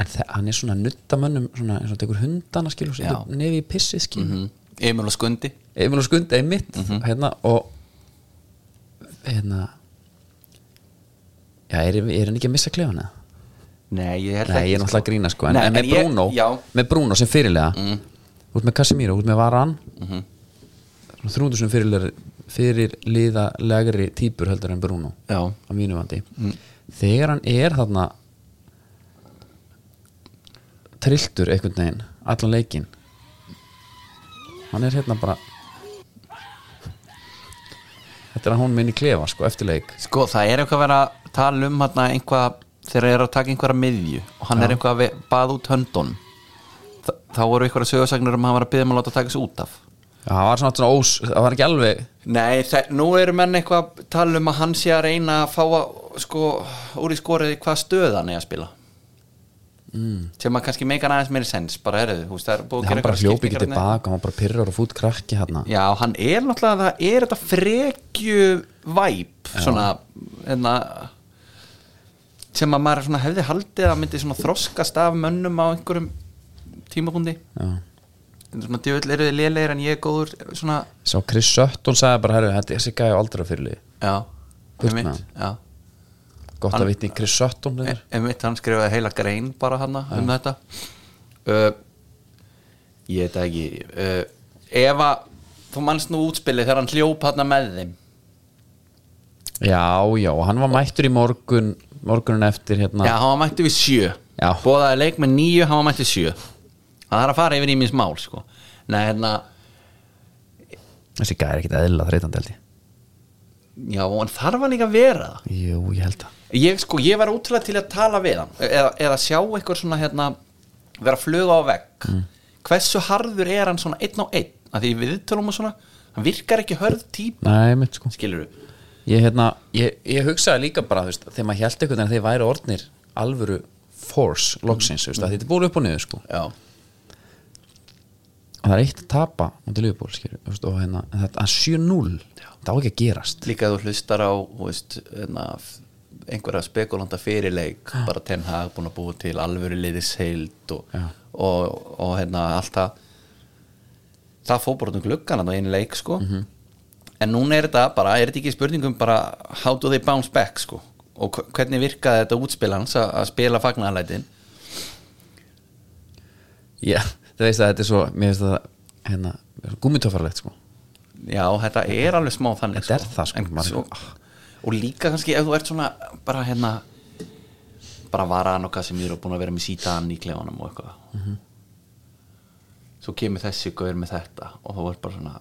Speaker 1: en þe- hann er svona að nutta mönnum svona, eins og tekur hundana skilur
Speaker 2: Já.
Speaker 1: nefi í pissið skilur
Speaker 2: mm. Emil og Skundi Mhm.
Speaker 1: Emil og Skund einmitt hérna, og hérna Já, er, er hann ekki að missa klefana?
Speaker 2: Nei, ég held
Speaker 1: Nei,
Speaker 2: ekki
Speaker 1: ég er náttúrulega að
Speaker 2: sko.
Speaker 1: grína sko En,
Speaker 2: Nei,
Speaker 1: en með,
Speaker 2: ég-
Speaker 1: Bruno,
Speaker 2: Já, Mhm.
Speaker 1: með Bruno sem fyrirlega Út með Casemiro, út með Varan mm -hmm. 300 fyrirlega fyrirliðalegri típur heldur en Bruno
Speaker 2: já
Speaker 1: á mínu vandi Þegar hann er þarna trilltur einhvern veginn allan leikinn Hann er hérna bara Þetta er að hún minni klefa sko eftir leik
Speaker 2: Sko, það er eitthvað að vera að tala um hérna einhvað þegar þeir eru að taka einhverja miðju og hann er einhvað að ve- baða út höndunum Þa, þá voru einhverja sögursagnir um að hann var að byggja um að láta taka sig út af
Speaker 1: Já, það var svona, svona ós, það var ekki alveg
Speaker 2: Nei, það, nú eru menn eitthvað að tala um að hann sé að reyna að fá að, sko, úr í skorið hvað stöð hann er að spila mm. sem að kannski meika hann aðeins meiri sens bara erðu, þú veist, það er búið að
Speaker 1: hann
Speaker 2: gera
Speaker 1: bara
Speaker 2: einhverjar
Speaker 1: hljópi ekki
Speaker 2: skiptingar hérna. þarna.
Speaker 1: tilbaka, hann var bara pyrrar og fút krakki hérna
Speaker 2: Já, hann er náttúrulega, það er þetta frekju væp svona, enna sem að maður svona hefði haldið að myndi svona þroskast af mönnum á einhverjum tímabundi svona djöfull eru þið lélegir en ég er góður svona,
Speaker 1: Sá Chris Sutton sagði bara, herru, þetta er þessi gæja á aldra fyrirlið
Speaker 2: já,
Speaker 1: Burt
Speaker 2: einmitt,
Speaker 1: með hann.
Speaker 2: já
Speaker 1: Gott
Speaker 2: Hann-
Speaker 1: að vitni í Chris Sutton þeir
Speaker 2: einmitt hann skrifaði heila grein bara hann um þetta uh, ég veit það ekki uh, ef að þú manst nú útspilið þegar hann hljóp hann með þeim
Speaker 1: Já, já, og hann var mættur í morgun morgunin eftir hérna
Speaker 2: já, hann var mættu við sjö
Speaker 1: Já.
Speaker 2: bóðaði leik með níu, hann var mættu sjö hann þarf að fara yfir í minns mál sko. Nei, hérna,
Speaker 1: Þessi gæja er ekkit eðla þreytandi held ég
Speaker 2: já, og hann þarf hann líka að vera það
Speaker 1: Jú, ég held það
Speaker 2: ég sko, ég var útrúlega til að tala við hann E-, eða, eða sjá einhver svona hérna vera að fluga á vegg hversu harður er hann svona einn á einn að því við tölum og svona hann virkar ekki hörð típ
Speaker 1: Nei, mitt sko
Speaker 2: skilur du,
Speaker 1: Ég, hérna, ég, ég hugsaði líka bara, þú veist, þegar maður held einhvern veginn að þeir væri orðnir alvöru force loksins, þú veist, að þetta er búið upp og niður sko
Speaker 2: já,
Speaker 1: og það er eitt að tapa mútið liðból, skilur, þú veist, og hérna en þetta að 7-0, það á ekki að gerast
Speaker 2: líka að þú hlustar á þú veist, hérna, f- einhverja spekulanda fyrirleik bara ten hag búin að búa til alvöru liðis heild og,
Speaker 1: Já.
Speaker 2: og, og hérna allt það það fór bara um gluggan að það einu leik sko en núna er þetta bara, er þetta ekki spurningum bara how do they bounce back sko og hv- hvernig virkaði þetta útspil hans að, að spila fagnaðalætin
Speaker 1: Já, það veist að þetta er svo mér finnst það, hérna, gúmitöfarlegt sko.
Speaker 2: já, þetta er alveg smá þannig
Speaker 1: Þetta er það, sko,
Speaker 2: en,
Speaker 1: maður-
Speaker 2: svo, og líka kannski ef þú ert svona bara hérna bara varan og Casemiro búin að vera með sítaðan í klefanum og eitthvað
Speaker 1: Mhm.
Speaker 2: svo kemur þessi gaur með þetta og þá er bara svona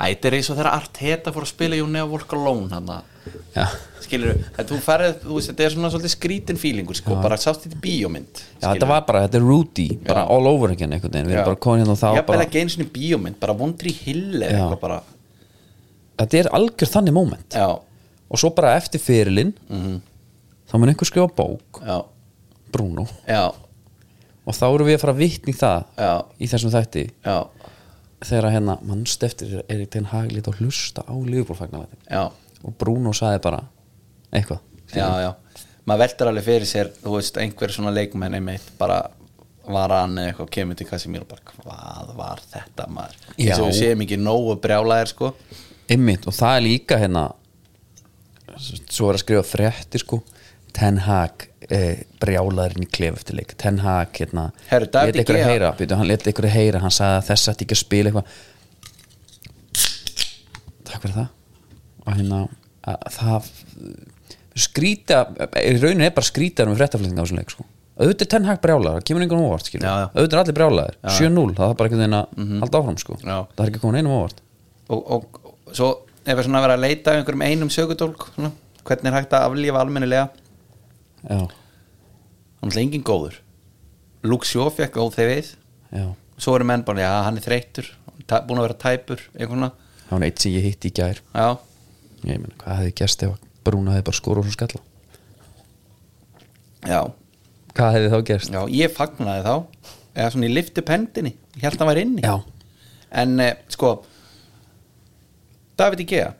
Speaker 2: Æ, þetta er eins og þegar Arteta fór að spila You Never Walk Alone hann
Speaker 1: Já,
Speaker 2: skilur þú, ferð, þú veist, þetta er svona svolítið skrítin fílingur sko, bara sást þetta í bíómynd
Speaker 1: Já þetta var bara, þetta er Rudy bara all over again einhvern veginn, við erum bara komin hérna og þá
Speaker 2: ég
Speaker 1: bara,
Speaker 2: bara ekki einu sinni bíómynd, bara vondri hill eða
Speaker 1: Já.
Speaker 2: eitthvað bara
Speaker 1: þetta er algjör þannig moment
Speaker 2: já,
Speaker 1: og svo bara eftir fyrirlin þá mun einhver skrifa bók
Speaker 2: já,
Speaker 1: Bruno,
Speaker 2: já,
Speaker 1: og þá erum við að fara að vitni það
Speaker 2: Já.
Speaker 1: í þessum þætti
Speaker 2: já,
Speaker 1: þegar að hérna, mannst eftir er ekki tegn haglít og hlusta á liðbólfagnalæti
Speaker 2: já.
Speaker 1: og Bruno sagði bara eitthvað
Speaker 2: já, já, maður veldur alveg fyrir sér þú veist, einhver svona leikmenn einmitt bara var hann eða eitthvað kemur til Casimir og bara hvað var þetta maður
Speaker 1: Já.
Speaker 2: eins og við séum ekki nógu brjálæðir sko
Speaker 1: Einmitt, og það er líka hérna svo er að skrifa frétti sko Ten Hag eh, brjálaðurinn í klef eftir leik Ten Hag hérna
Speaker 2: Herru, David
Speaker 1: lét ykkur
Speaker 2: Gea-
Speaker 1: að heyra, byrju, hann leti ykkur að heyra hann sagði að þess að ekki að spila eitthvað takk fyrir það og hérna að, það skrýta, í rauninu er bara skrýta um fréttaflýtinga á þessum leik sko auðvitað er Ten Hag brjálaður, það kemur einhvern óvart skilur.
Speaker 2: Já, já.
Speaker 1: auðvitað er allir brjálaður, 7-0 það er bara einhvern veginn að halda áfram sko
Speaker 2: Já.
Speaker 1: það er ekki komin einum óvart
Speaker 2: og, og, og svo ef við svona vera að leita að einhverjum einum sögudólk svona, hvernig er hægt að aflífa almennilega
Speaker 1: já,
Speaker 2: hann er engin góður Luke Shaw fekk góð þegar við
Speaker 1: já
Speaker 2: svo eru menn bara, já, hann er þreyttur tæ- búin að vera tæpur, einhvern veginn
Speaker 1: Það var eitt sem ég hitti í gær
Speaker 2: já,
Speaker 1: Ég meina, hvað hefði gerst ef Brúna hefði bara skóra og skalla
Speaker 2: já,
Speaker 1: Hvað hefði þá gerst?
Speaker 2: Já, ég fagnaði þá eða svona ég lifti pendinni, ég held að hann var inni
Speaker 1: Já.
Speaker 2: en eh, sko David Igea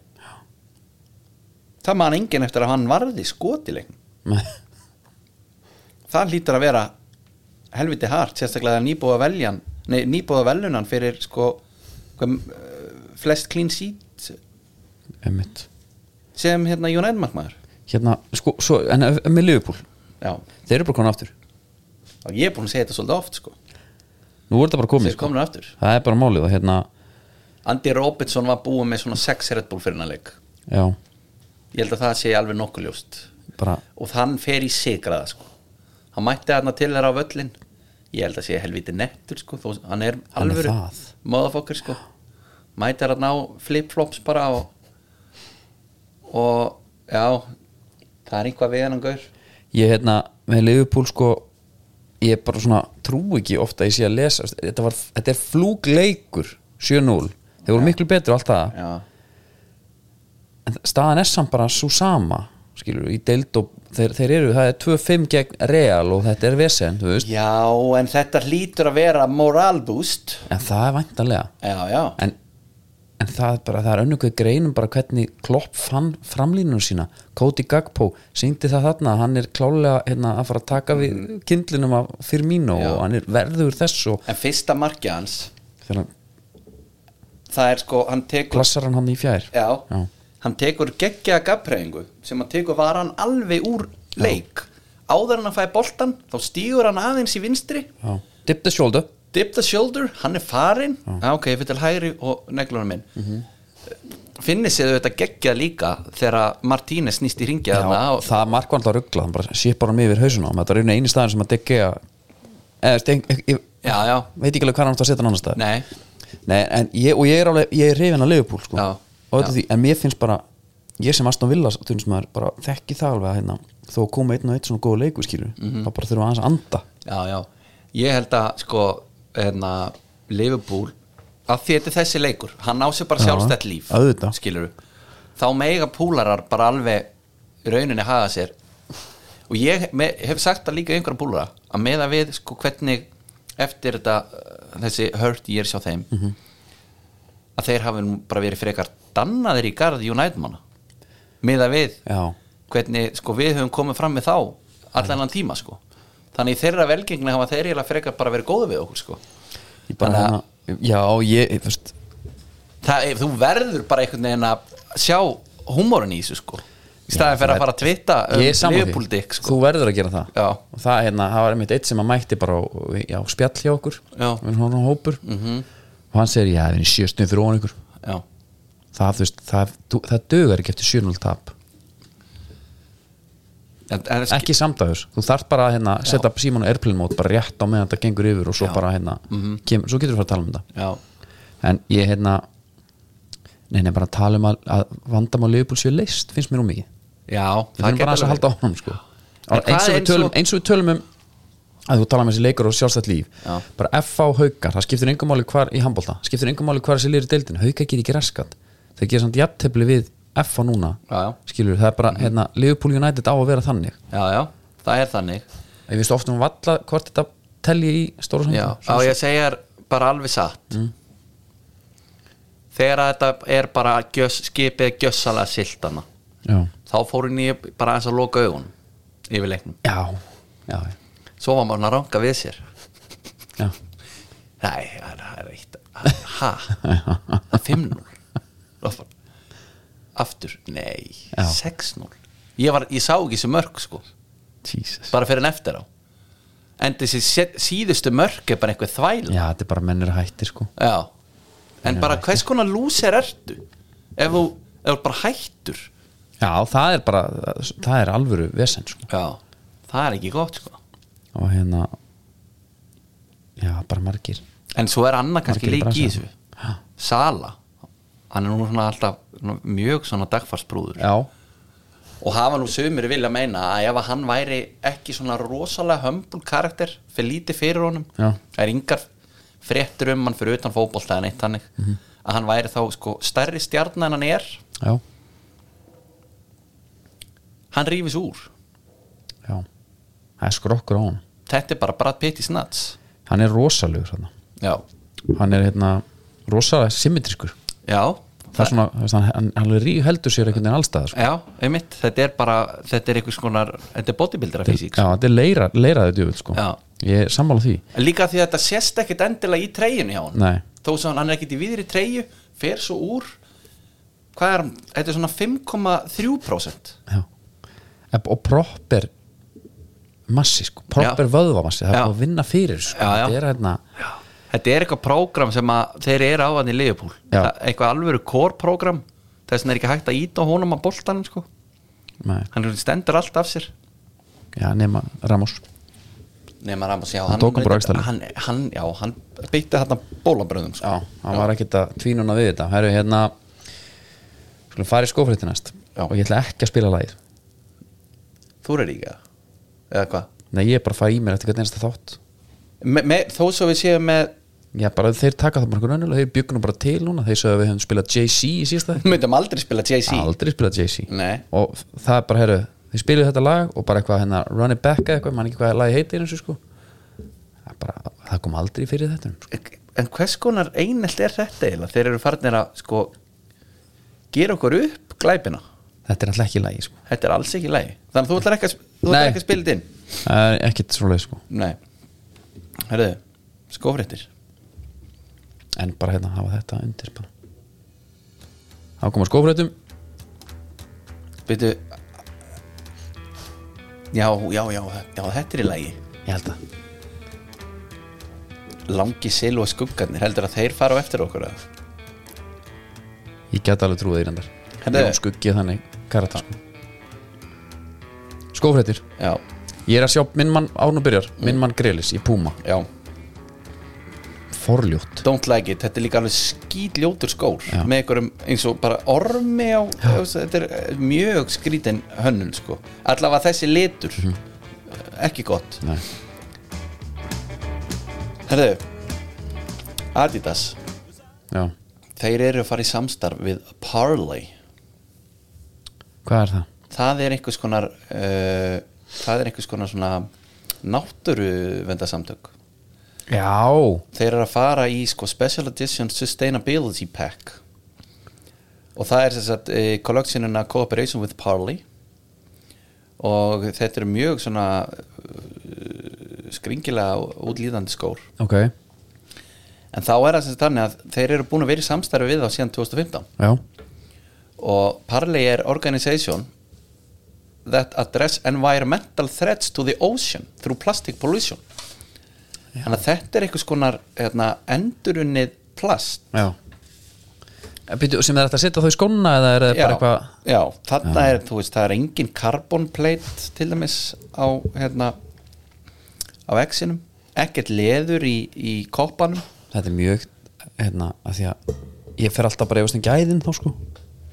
Speaker 2: það man enginn eftir að hann varði skotileikn það hlýtur að vera helviti hart, sérstaklega að nýbúa veljan nei, nýbúa velunan fyrir sko hver, flest clean seat
Speaker 1: Einmitt.
Speaker 2: sem hérna United markmaður
Speaker 1: hérna, sko, svo, en ef- með Liverpool
Speaker 2: já,
Speaker 1: þeir eru bara komin aftur
Speaker 2: og ég er búin að segja þetta svolítið oft sko.
Speaker 1: nú er þetta bara komið
Speaker 2: þeir
Speaker 1: sko.
Speaker 2: komnir aftur
Speaker 1: það er bara málið og hérna,
Speaker 2: Andy Robertson var búin með svona 6 Red Bull fyrir hennar leik
Speaker 1: já,
Speaker 2: ég held að það sé alveg nokkuð ljóst
Speaker 1: bara
Speaker 2: og hann fer í sigraða sko. hann mætti hann til þeirra á völlin ég held að sé helviti nettur sko. Þó, hann er
Speaker 1: er
Speaker 2: alvöru
Speaker 1: það.
Speaker 2: maðafokkar sko. mætti hann á flip-flops bara og, og já það er einhvað við hann gaur
Speaker 1: ég hérna, með Liverpool sko ég bara svona trú ekki ofta ég sé að lesa, þetta, var, þetta er flúgleikur 7-0, þeir voru miklu betri og allt það,
Speaker 2: já,
Speaker 1: en staðan er samt bara svo sama, skilur, í deild og þeir, þeir eru, það er 2-5 gegn Real og þetta er vesen, þú veist
Speaker 2: já en þetta hlýtur að vera moral boost
Speaker 1: en það er væntanlega
Speaker 2: já, já,
Speaker 1: en, en það er bara, það er önnugveð greinum bara hvernig Klopp fann framlínun sína Cody Gagpo, syngdi það þarna hann er klálega hérna, að fara að taka við kindlinum af Firmino
Speaker 2: Mm. Já.
Speaker 1: og hann er verður þess og
Speaker 2: en fyrsta markið hans
Speaker 1: þegar hann
Speaker 2: það er sko, hann tekur
Speaker 1: klassar hann hann í fjær
Speaker 2: já,
Speaker 1: Já.
Speaker 2: hann tekur geggjaða gafpreyingu sem hann tekur varan alveg úr leik áður hann að fæ boltan þá stígur hann aðeins í vinstri
Speaker 1: Já. dip the shoulder
Speaker 2: dip the shoulder, hann er farinn ah, ok, ég fyrir til hægri og neglunum minn mm -hmm. finnir sér þetta geggjað líka þegar Martínez snýst í ringja þarna og
Speaker 1: það mark var alltaf ruggla, hann bara sipar hann yfir hausuna þetta er einu eini staðin sem að digga eða, veist, ég, ég, ég
Speaker 2: já, já,
Speaker 1: veit ekki alveg hvað hann átti að setja hann annar stað
Speaker 2: nei,
Speaker 1: Nei, en ég, og ég er alveg, ég er hrifin að Liverpool sko.
Speaker 2: Já,
Speaker 1: og þetta
Speaker 2: já.
Speaker 1: því, en mér finnst bara ég sem Aston Villa tunnsmaður bara þekki það alveg að hérna, þó að koma einn og einn svona góða leiku skilur,
Speaker 2: Mhm.
Speaker 1: þá bara þurfum við aðeins að anda
Speaker 2: já, já ég held að sko hérna, Liverpool að því þetta er þessi leikur, hann á sér bara
Speaker 1: Já,
Speaker 2: sjálfstætt líf
Speaker 1: auðvitað.
Speaker 2: skilur þá mega púlarar bara alveg í rauninni haga sér og ég me, hef sagt það líka einhverja púlara að meða við sko hvernig eftir þetta, uh, þessi hurt year hjá þeim
Speaker 1: Mhm.
Speaker 2: að þeir hafi nú bara verið frekar dannaðir í garð United manna meða við
Speaker 1: já,
Speaker 2: hvernig sko, við höfum komið fram með þá allan hann tíma sko. þannig í þeirra velgengni hafa þeir eiginlega frekar bara verið góði við okkur sko.
Speaker 1: ég bara
Speaker 2: Þannig að-
Speaker 1: hérna, já, ég, þú veist
Speaker 2: það, ef, þú verður bara einhvern veginn að sjá húmórin í þessu sko. í staðin fyrir að fara að tvitta um
Speaker 1: ég er saman
Speaker 2: Liverpool dick sko.
Speaker 1: þú verður að gera það
Speaker 2: Já.
Speaker 1: og það, hérna, það var einmitt eitt sem að mætti bara á, já, spjall hjá okkur
Speaker 2: Já. Mhm.
Speaker 1: við erum svona hópur og hann segir, já, við erum sjöstum fyrir ofan ykkur
Speaker 2: já,
Speaker 1: það, þú veist, það, það, það dögar ekki eftir 7-0 tap
Speaker 2: en, en,
Speaker 1: ekki samdægurs, þú þarft bara að hérna, setja síman og airplane mode bara rétt á meðan þetta gengur yfir og svo
Speaker 2: Já. Mhm.
Speaker 1: bara hérna kemur, svo getur við fara að tala um þetta
Speaker 2: já,
Speaker 1: en ég hérna nei, nei, bara að tala um að, að vandamál Liverpool séu leist, finnst mér um mikið
Speaker 2: já
Speaker 1: við þurfum bara aðeins að
Speaker 2: verið.
Speaker 1: halda áfram sko.
Speaker 2: En
Speaker 1: Og eins, og
Speaker 2: hvað
Speaker 1: við
Speaker 2: eins
Speaker 1: tölum,
Speaker 2: og-
Speaker 1: eins og við tölum um að þú tala um þessi leikur og sjálfstætt líf
Speaker 2: Já.
Speaker 1: bara FH haukar, það skiptir engum máli hvar í handbólta, skiptir engum máli hvar þessi liður í deildin haukar get ekki raskat, þeir gera samt jafntefli við FH núna
Speaker 2: Já, Mhm. já.
Speaker 1: skilur, það er bara, hérna, Liverpool United á að vera þannig
Speaker 2: já, já, það er þannig
Speaker 1: Ég veist ofta um valla hvort þetta telji í stóra
Speaker 2: já, á
Speaker 1: samfélag
Speaker 2: ég að segja þér bara alveg satt
Speaker 1: Mm.
Speaker 2: þegar að þetta er bara gjöss, skipið gjössalega siltana
Speaker 1: já.
Speaker 2: þá fór henni bara aðeins að loka augun yfir leiknum,
Speaker 1: já, já,
Speaker 2: svo var maður að ranga við sér
Speaker 1: já
Speaker 2: nei, það er- það er eitt ha, það er 5-0 Og bara, aftur, nei
Speaker 1: Já.
Speaker 2: 6-0 ég, var- ég sá ekki þessi mörg sko
Speaker 1: Jesus.
Speaker 2: bara fyrir en eftir á en þessi sé- síðustu mörg er bara einhver þvæl
Speaker 1: Já, þetta er bara mennir hættir sko
Speaker 2: Já En bara hvers konar lúser ertu ef þú, ef þú ert bara hættur
Speaker 1: Já, það er bara, það er alvöru vesen sko
Speaker 2: Já Það er ekki gott sko
Speaker 1: Og hérna Já, bara margir
Speaker 2: En svo er annað kannski
Speaker 1: Margir í
Speaker 2: líka í þessu
Speaker 1: bransanum. Ha.
Speaker 2: Sala Hann er nú svona alltaf svona mjög svona dagfarsbrúður
Speaker 1: Já,
Speaker 2: Og hafa nú sömur vilja meina að ef að hann væri ekki svona rosalega hömbul karakter fyrir lítið fyrir honum
Speaker 1: Já.
Speaker 2: Það er yngar fréttur um hann fyrir utan fótbolta en eitt hannig
Speaker 1: Mhm.
Speaker 2: að hann væri þá sko stærri stjarn en hann er
Speaker 1: já,
Speaker 2: hann rífis úr
Speaker 1: já Það er skrokkur á hann
Speaker 2: þetta er bara Brad Pitt í snats
Speaker 1: Hann er rosalegur hérna
Speaker 2: Já,
Speaker 1: Hann er hérna rosalega symmetriskur
Speaker 2: já,
Speaker 1: Það er svona, þú veist, hann, hann, hann rí- heldur sér einhvern veginn allstaðar sko.
Speaker 2: já, einmitt þetta er bara, þetta er einhvers konar þetta er bodybuildera físík
Speaker 1: Já, þetta er leira, leiraði djöfull sko
Speaker 2: Já.
Speaker 1: Ég er sammála því
Speaker 2: líka því að þetta sést ekkit endilega í treyjun hjá hann
Speaker 1: Nei.
Speaker 2: þó sem hann er ekkit í viðri treyju fer svo úr hvað er, hann? þetta er svona 5,3%
Speaker 1: Já og proper massi sko, proper
Speaker 2: Já.
Speaker 1: vöðvamassi það
Speaker 2: Já.
Speaker 1: er búið að vinna fyrir sko.
Speaker 2: Já, já.
Speaker 1: þetta er hérna
Speaker 2: Þetta er eitthvað prógram sem að þeir eru á hann í Liverpool
Speaker 1: Já.
Speaker 2: Það- Eitthvað alvöru core prógram Þess vegna er ekki hægt að íta honum að boltanum sko.
Speaker 1: nei,
Speaker 2: Hann stendur allt af sér
Speaker 1: já, nema Ramos
Speaker 2: Nei, maður Ramos, já,
Speaker 1: tók hann bara á
Speaker 2: hann,
Speaker 1: öxlina.
Speaker 2: hann, hann, já, hann beitti þarna bólabröðum sko.
Speaker 1: já, hann var ekkert að tvínuna við þetta það eru hérna skulum fara í skófrétti næst
Speaker 2: Já.
Speaker 1: og ég ætla ekki að spila lagið
Speaker 2: Þú er ekki það? Eða hvað?
Speaker 1: nei, ég er bara að fá í mér eftir hvernig einasta þátt
Speaker 2: Me, me, þó svo við séum með
Speaker 1: já, bara þeir taka það bara einhvern önnul og þeir byggunum bara til núna þeir sögðu að við höfum spilað JC í síðasta þætti.
Speaker 2: Möndum aldrei spila Jay-Z
Speaker 1: aldrei spilað JC
Speaker 2: Nei.
Speaker 1: og það er bara, herru, þið spiluðu þetta lag og bara eitthvað hérna, run it back eða eitthvað mann ekki hvað lagi heitir eins og sko það, er bara, það kom aldrei fyrir þetta sko.
Speaker 2: En hvers konar einelt er þetta eiginlega? Þeir eru farnir að sko gera okkur upp glæpina
Speaker 1: þetta er alltaf ekki lagi sko.
Speaker 2: Þetta er alls ekki lægi Þannig að þú ætlar ekki að, þú ætlar
Speaker 1: Nei.
Speaker 2: ekki að spila þetta inn
Speaker 1: það er ekkit svoleið sko.
Speaker 2: Nei Herðu, skofréttir
Speaker 1: en bara hérna hafa þetta undir bara. það kom að skófröðum
Speaker 2: Byrju Já, já, já, já, þetta er í lægi
Speaker 1: ég held að
Speaker 2: Langi silu og skuggarnir Heldur að þeir fara á eftir okkur að
Speaker 1: ég get alveg trúið í reyndar
Speaker 2: Herðu.
Speaker 1: Jón skuggi er þannig karata sko. skófröðir
Speaker 2: Já,
Speaker 1: ég er að sjá minn mann án og byrjar minn mann Grelis í Puma
Speaker 2: já
Speaker 1: forljótt
Speaker 2: Don't like it, þetta er líka alveg skýtljótur skór
Speaker 1: Já.
Speaker 2: með einhverjum eins og bara ormi á, þetta er eh, mjög skrítin hönnun sko, allavega þessi litur eh, ekki gott
Speaker 1: Nei.
Speaker 2: Herðu Adidas,
Speaker 1: já
Speaker 2: þeir eru að fara í samstarf við Parley
Speaker 1: hvað er það?
Speaker 2: það er einhvers konar uh, það er einhvers konar svona náttúruvendasamtök
Speaker 1: já
Speaker 2: þeir eru að fara í sko, Special Edition Sustainability Pack og það er þess að e, collectionina Cooperation with Parley og þetta eru mjög svona uh, skringilega og útlýðandi skór
Speaker 1: ok
Speaker 2: en þá er það sem sagt þannig að þeir eru búin að vera í samstarfi við þá síðan 2015
Speaker 1: já
Speaker 2: og Parley er organization that address environmental threats to the ocean through plastic pollution þannig að þetta er einhvers konar hérna, endurunnið plast
Speaker 1: Já Býtu, Eh, sem er hægt að setja þau í skóna eða er það bara eitthvað
Speaker 2: já, þarna er, þú veist, það er engin carbon plate til dæmis á, hérna á exinum, ekkert leður í, í koppanum
Speaker 1: þetta er mjög hérna, að því að ég fer alltaf bara efast um gæðin þá sko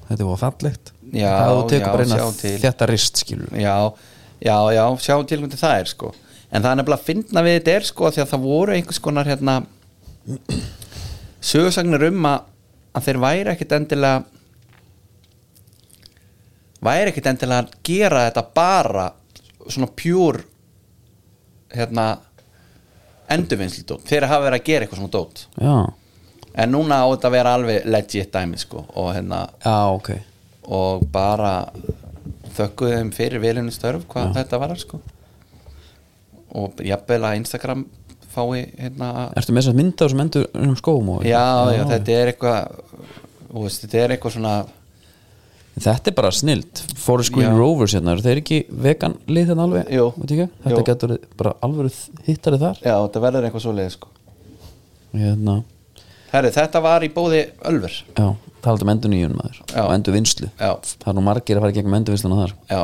Speaker 1: þetta er búið fallegt
Speaker 2: Já,
Speaker 1: það að þú tekur
Speaker 2: já,
Speaker 1: bara
Speaker 2: sjá
Speaker 1: eina
Speaker 2: til.
Speaker 1: þetta rist skilur við.
Speaker 2: já, já, já, sjáum til hvernig það er sko en það er nefnilega að finna við þetta er sko því að það voru einhvers konar hérna sögursagnir um að, að þeir væri ekkit endilega væri ekkit endilega að gera þetta bara svona pjúr hérna endurvinnslu þeir hafa verið að gera eitthvað svona dót
Speaker 1: já,
Speaker 2: en núna á þetta að vera alveg legit dæmi sko og hérna
Speaker 1: já ok
Speaker 2: og bara þökkuðu þeim fyrir velinu störf hvað þetta var sko og jafnvel að Instagram fái hérna að-
Speaker 1: ertu með þess að mynda þessum endur um skóum og
Speaker 2: já, já, þetta er eitthvað þú veist, þetta er eitthvað svona
Speaker 1: þetta er bara snilt Forest Green
Speaker 2: Já.
Speaker 1: Rovers hérna eru þeir ekki vegan lið hérna alveg
Speaker 2: Jú.
Speaker 1: Veit ekki? þetta
Speaker 2: Jú.
Speaker 1: getur bara alvöru hittari þar
Speaker 2: já, þetta verður eitthvað svoleið sko
Speaker 1: hérna,
Speaker 2: Herri, þetta var í bóði Ölver
Speaker 1: já, talað um endur nýjum maður
Speaker 2: Já.
Speaker 1: og endur vinslu
Speaker 2: Já.
Speaker 1: það er nú margir að fara í gegnum endur vinsluna þar
Speaker 2: já,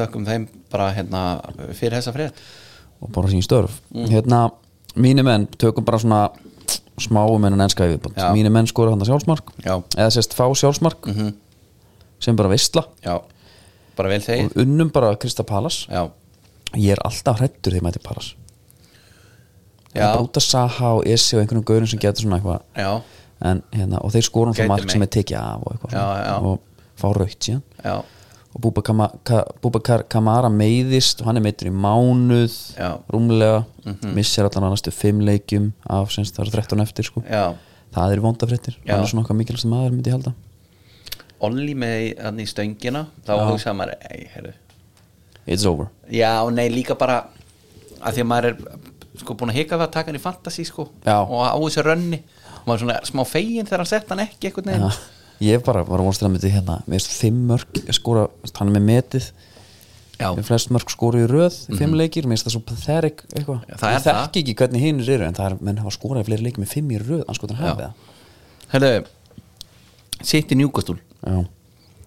Speaker 2: þökkum þeim bara hérna fyrir þessa frétt
Speaker 1: og bara sín störf hérna, mínu menn, tökum bara svona um smáum en ennska yfirbútt
Speaker 2: Já.
Speaker 1: mínu menn skora hann sjálfsmark
Speaker 2: Já. Mhm.
Speaker 1: eða sérst fá sjálfsmark sem bara veistla
Speaker 2: já, bara vel
Speaker 1: og
Speaker 2: þegið
Speaker 1: unnum bara Krista Palas
Speaker 2: já,
Speaker 1: ég er alltaf hrættur þegar mæti Palas það er
Speaker 2: já,
Speaker 1: bara út að Saha og Esi og einhvernum gaurum sem getur svona eitthvað
Speaker 2: já,
Speaker 1: en, hérna, og þeir skorum
Speaker 2: Gæti
Speaker 1: það mark
Speaker 2: mig.
Speaker 1: sem er tekið af og, eitthvað,
Speaker 2: Já,
Speaker 1: svona.
Speaker 2: já.
Speaker 1: og fá raukt síðan
Speaker 2: já,
Speaker 1: og Búba, Kama, Ka, Búba Kar, Kamara meiðist og hann er meittur í mánuð
Speaker 2: Já. Mhm.
Speaker 1: rúmlega, missir allan að næstu fimm leikjum af semst það eru 13 eftir sko.
Speaker 2: já
Speaker 1: það eru vondafréttir,
Speaker 2: Já.
Speaker 1: hann er svona okkar mikilvægst maður myndi ég halda
Speaker 2: Olli með hann í stöngina þá hugsaði maður, ei, herru
Speaker 1: It's over
Speaker 2: Já, nei, líka bara að því að maður er sko búin að hika við að taka hann í fantasy sko
Speaker 1: Já.
Speaker 2: og á þessu rönni og maður er svona smá fegin þegar hann sett hann ekki eitthvað neginn
Speaker 1: ja. ég bara var að vonst að myndi hérna við erum fimm mörg að skora hann er með metið
Speaker 2: Já. Mhm.
Speaker 1: Við flest mörg skoru í röð í fimm leikir, mér finnst það svo pathetic eitthvað
Speaker 2: Já, það er
Speaker 1: Ég
Speaker 2: það.
Speaker 1: þekki ekki hvernig hinir eru en það er, menn hafa skorað í fleiri leikir með fimm í röð anskotin hafið það
Speaker 2: Herðu, sitt í njúkastúl
Speaker 1: Já,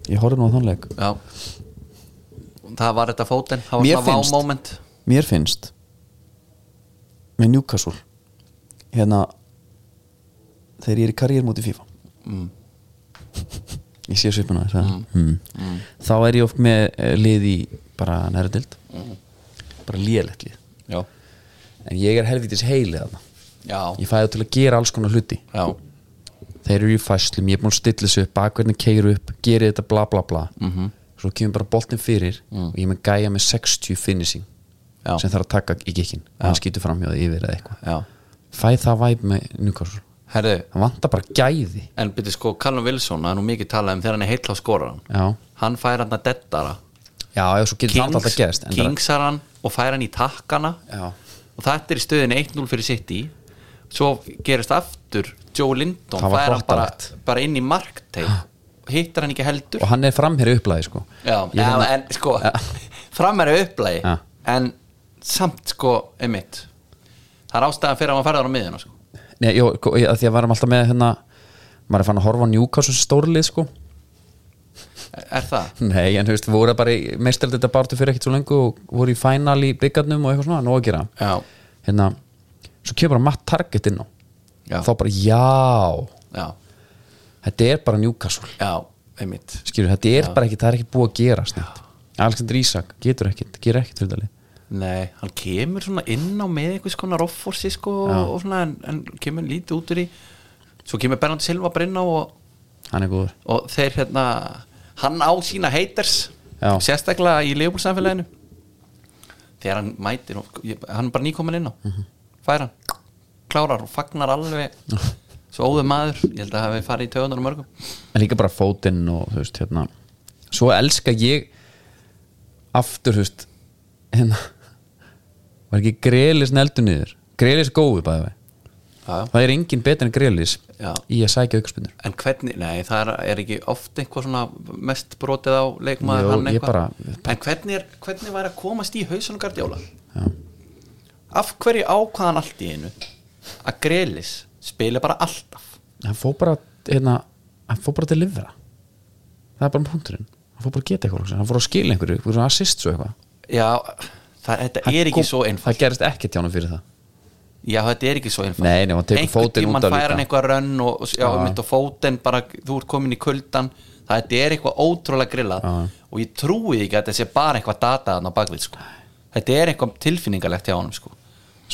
Speaker 1: ég horfði nú á þann leik
Speaker 2: Já Það var þetta fóten, það var
Speaker 1: Mér
Speaker 2: svona
Speaker 1: finnst-
Speaker 2: vámoment
Speaker 1: Mér finnst með Newcastle hérna þegar ég er í karriér múti FIFA ég sé svipuna þér mm. mm. þá er ég oft með eh, lið í bara nærdild mm. bara lélegt lið
Speaker 2: Já,
Speaker 1: en ég er helvitis heilið þarna
Speaker 2: já,
Speaker 1: ég fæði til að gera alls konar hluti
Speaker 2: já
Speaker 1: þeir eru í fæslum, ég er búin að stilla þessu upp bakverðin keiru upp, geri þetta bla bla bla
Speaker 2: Mhm.
Speaker 1: -hmm. svo kemur bara boltinn fyrir og ég er með gæja með 60 finishing
Speaker 2: Mm. Já.
Speaker 1: sem þarf að taka í kikkin og hann skýtur fram hjá því yfir eða eitthvað
Speaker 2: Já.
Speaker 1: fæ það væp með Newcastle
Speaker 2: Herðu,
Speaker 1: það vantar bara gæði
Speaker 2: en byrju sko Callum Wilson, það er nú mikið talað um þegar hann er heitla á skoraran
Speaker 1: já,
Speaker 2: Hann fær hann að dettara
Speaker 1: já, já svo getur það alltaf gerst en
Speaker 2: Kingsar hann og fær hann í takkana
Speaker 1: það- já,
Speaker 2: og þetta er í stöðinu 1-0 fyrir City svo gerist aftur Joe Linton,
Speaker 1: Það var
Speaker 2: fær hann bara,
Speaker 1: hrottavakt.
Speaker 2: bara inn í markteg hittar hann ekki heldur
Speaker 1: og hann er framherri upplæði sko
Speaker 2: Já,
Speaker 1: Ég
Speaker 2: en,
Speaker 1: hérna-
Speaker 2: en sko fram er upplægi
Speaker 1: Já.
Speaker 2: en samt sko einmitt það er ástæðan fyrir að maður ferðar á miðjuna sko.
Speaker 1: Nei, jó, sko, ég- að því að varum alltaf með hérna maður er fann að horfa á Newcastle sem stórlið sko
Speaker 2: er það?
Speaker 1: Nei, en þú veist, voru bara meistarlega þetta bartu fyrir ekkert svo lengu og voru í final í byggarnum og eitthvað svona, nóg að gera
Speaker 2: Já,
Speaker 1: hérna, svo kemur bara Matt Target inn á
Speaker 2: Já.
Speaker 1: þá bara, já
Speaker 2: já,
Speaker 1: þetta er bara Newcastle,
Speaker 2: já, einmitt
Speaker 1: skilur, þetta er bara ekki það er ekki búið að gera snett Alexander Isak getur ekkert, gerir ekkert fyrir dali
Speaker 2: Nei, hann kemur svona inn á með einhvers konar offorsi sko og svona, en, en kemur lítið út úr í svo kemur Bernandi Silva bara inn á og,
Speaker 1: hann er góður,
Speaker 2: og þeir hérna hann á sína haters
Speaker 1: Já.
Speaker 2: sérstaklega í leifbúlsamfélaginu þegar hann mætir og, ég, hann er bara nýkomin inn á
Speaker 1: Mhm.
Speaker 2: fær hann, klárar og fagnar alveg svo óður maður ég held að hafi farið í töðunar og mörgum
Speaker 1: en líka bara fótinn og þú veist, hérna svo elska ég aftur, þú veist hérna var ekki Grelis neldu niður Grelis er góður bæði vei
Speaker 2: já, já.
Speaker 1: það er engin betur en Grelis
Speaker 2: Já.
Speaker 1: í að sækja aukaspinnur
Speaker 2: en hvernig, nei það er, er ekki oft eitthvað svona mest brotið á leikmaður
Speaker 1: Jú,
Speaker 2: hann
Speaker 1: ég
Speaker 2: eitthvað
Speaker 1: bara-
Speaker 2: en hvernig, er, hvernig var að komast í hausunum gardjóla af hverju ákvaðan allt í einu að Grelis spila bara alltaf
Speaker 1: hann fór bara hérna, hann fór bara til livra það er bara um punkturinn hann fór bara að geta eitthvað loksins. hann fór að skila einhverju, einhverju svona assist svo eitthvað
Speaker 2: Já, það, þetta
Speaker 1: Hann
Speaker 2: er ekki
Speaker 1: kom-
Speaker 2: svo einfalt
Speaker 1: það gerist ekkert hjá hann fyrir það
Speaker 2: Já, þetta er ekki svo einfalt
Speaker 1: Nei, nei, hann tekur fótinn út af
Speaker 2: Einhvern tímann
Speaker 1: líka.
Speaker 2: fær hann eitthvað rönn og, og- já, mitt og fótinn bara, þú ert komin í kuldan Það þetta er eitthvað ótrúlega grillað Og ég trúi því ekki að þetta sé bara eitthvað data þarna á bakvið, sko Þetta er eitthvað tilfinningalegt hjá honum, sko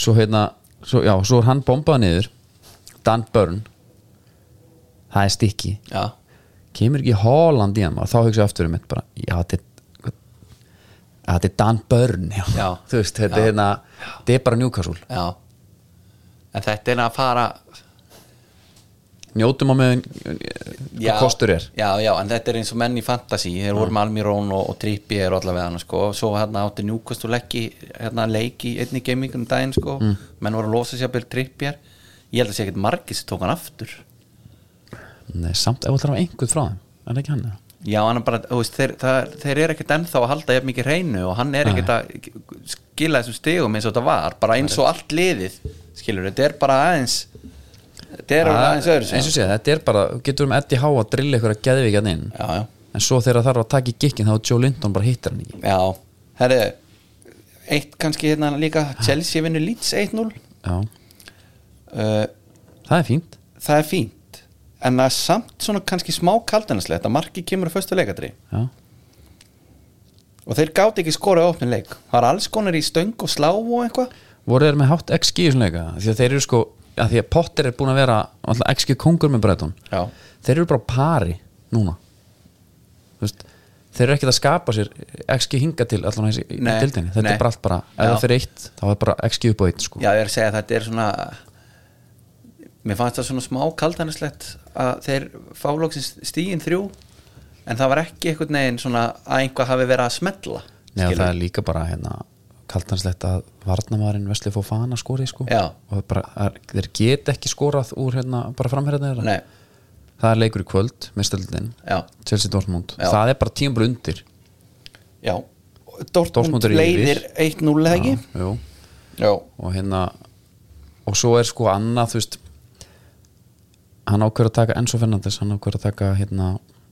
Speaker 1: svo hérna, svo, já, svo er hann bombað niður Dan Burn það er stikki
Speaker 2: Já,
Speaker 1: kemur ekki Holland í hann maður, þá hugsa ég aftur um mitt bara, já, þetta er þetta er Dan Burn já.
Speaker 2: Já.
Speaker 1: þú veist, þetta er
Speaker 2: Já.
Speaker 1: hérna þetta er bara Newcastle,
Speaker 2: já En þetta er að fara
Speaker 1: njótum á meðan
Speaker 2: já,
Speaker 1: hvað kostur er Mm.
Speaker 2: Já, já, en þetta er eins og menn í fantasy Þeir voru með Almirón og, og Trippier og allavega hann, sko Svo hérna átti njúkast og leggji hérna leik í einni gamingum daginn, sko
Speaker 1: Mm.
Speaker 2: Menn voru að losa sér að byrja Trippier Ég held að sé ekkert margir sem tók hann aftur
Speaker 1: Nei, samt ef það er einhvern frá þeim er það ekki hann eða?
Speaker 2: Já, hann er bara, þú veist, þeir, það, þeir eru ekkert ennþá að halda jafn mikið hreinu og hann er ekkert að skila þessum stegum eins og þetta var, bara eins og allt liðið skilur, þetta er bara aðeins þetta er bara aðeins öðru
Speaker 1: Ah, eins og segja, þetta er bara, getur um Eddie Há að drilla ykkur að geðvika hann inn
Speaker 2: Já, já,
Speaker 1: en svo þegar þarf að taka í gikkin þá Joe Linton bara hittir hann ekki
Speaker 2: já, herri eitt kannski hérna líka Chelsea vinnur Leeds 1-0
Speaker 1: já,
Speaker 2: uh,
Speaker 1: það er fínt
Speaker 2: það er fínt en það er samt svona kannski smá kaldanarslegt að markið kemur á föstu leikadri
Speaker 1: já,
Speaker 2: og þeir gáti ekki skorað á opnin leik það var alls konar í stöng og slá og eitthvað
Speaker 1: voru þeir með hátt XG í svona leika því að þeir eru sko, að því að Potter er búin að vera alltaf XG kongur með breytun
Speaker 2: Já.
Speaker 1: þeir eru bara á pari núna þú veist þeir eru ekkert að skapa sér XG hinga til allan þessi í
Speaker 2: Nei,
Speaker 1: dildinni, þetta
Speaker 2: nei.
Speaker 1: er bara allt bara ef
Speaker 2: Já.
Speaker 1: það fyrir eitt, þá er bara XG upp á eitt sko.
Speaker 2: Já, ég er að segja að þetta er svona Mér fannst það svona smá kaldanarslegt að þeir fálóksins stíin þrjú en það var ekki einhvern veginn svona að einhvað hafi verið að smetla
Speaker 1: Já,
Speaker 2: skilur.
Speaker 1: það er líka bara hérna kaltanslegt að varnamæðurinn Vesli Fofana skori sko
Speaker 2: Já.
Speaker 1: og bara, er, þeir get ekki skorað úr hérna bara framherðina þeirra
Speaker 2: Nei,
Speaker 1: það er leikur í kvöld með stöldin
Speaker 2: Já.
Speaker 1: Chelsea Dortmund,
Speaker 2: Já.
Speaker 1: það er bara tíum brundir
Speaker 2: já, Dortmund
Speaker 1: Dortmund er
Speaker 2: leiðir
Speaker 1: yfir.
Speaker 2: 1-0 eða ekki
Speaker 1: Jú.
Speaker 2: Já,
Speaker 1: og hérna og svo er sko annað þú veist hann ákveður að taka Enzo Fernandes hann ákveður að taka hérna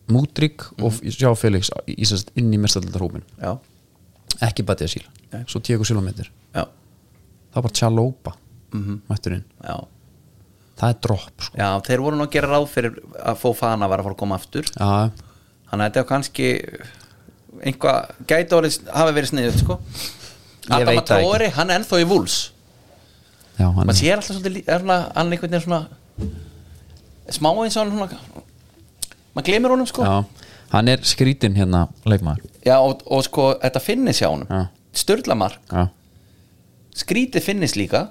Speaker 1: Múdrik
Speaker 2: Mhm.
Speaker 1: og sjá Felix í, í, sest, inn í mestaldarhópin
Speaker 2: já,
Speaker 1: ekki Batið Síl,
Speaker 2: Nei.
Speaker 1: svo Diego Silvameter
Speaker 2: já,
Speaker 1: það var Tjalópa mm
Speaker 2: Mhm.
Speaker 1: mætturinn,
Speaker 2: já.
Speaker 1: það er dropp sko.
Speaker 2: já Þeir voru nú að gera ráð fyrir að Fofana var að fara að koma aftur
Speaker 1: já,
Speaker 2: Þannig að þetta er kannski einhvað, gæti orðið hafi verið sniðið sko.
Speaker 1: Ég
Speaker 2: Adam
Speaker 1: veit það ekki.
Speaker 2: Atóri, hann er ennþá í vúls
Speaker 1: já, hann
Speaker 2: maður
Speaker 1: er
Speaker 2: sér alltaf svolítið lí- er svona, hann einhvern veginn svona smá eins og hann svona maður glemir honum sko já,
Speaker 1: já, hann er skrítinn hérna leikmaður
Speaker 2: og, og sko þetta finnis hjá honum
Speaker 1: Já.
Speaker 2: störlamark,
Speaker 1: já,
Speaker 2: skrítið finnis líka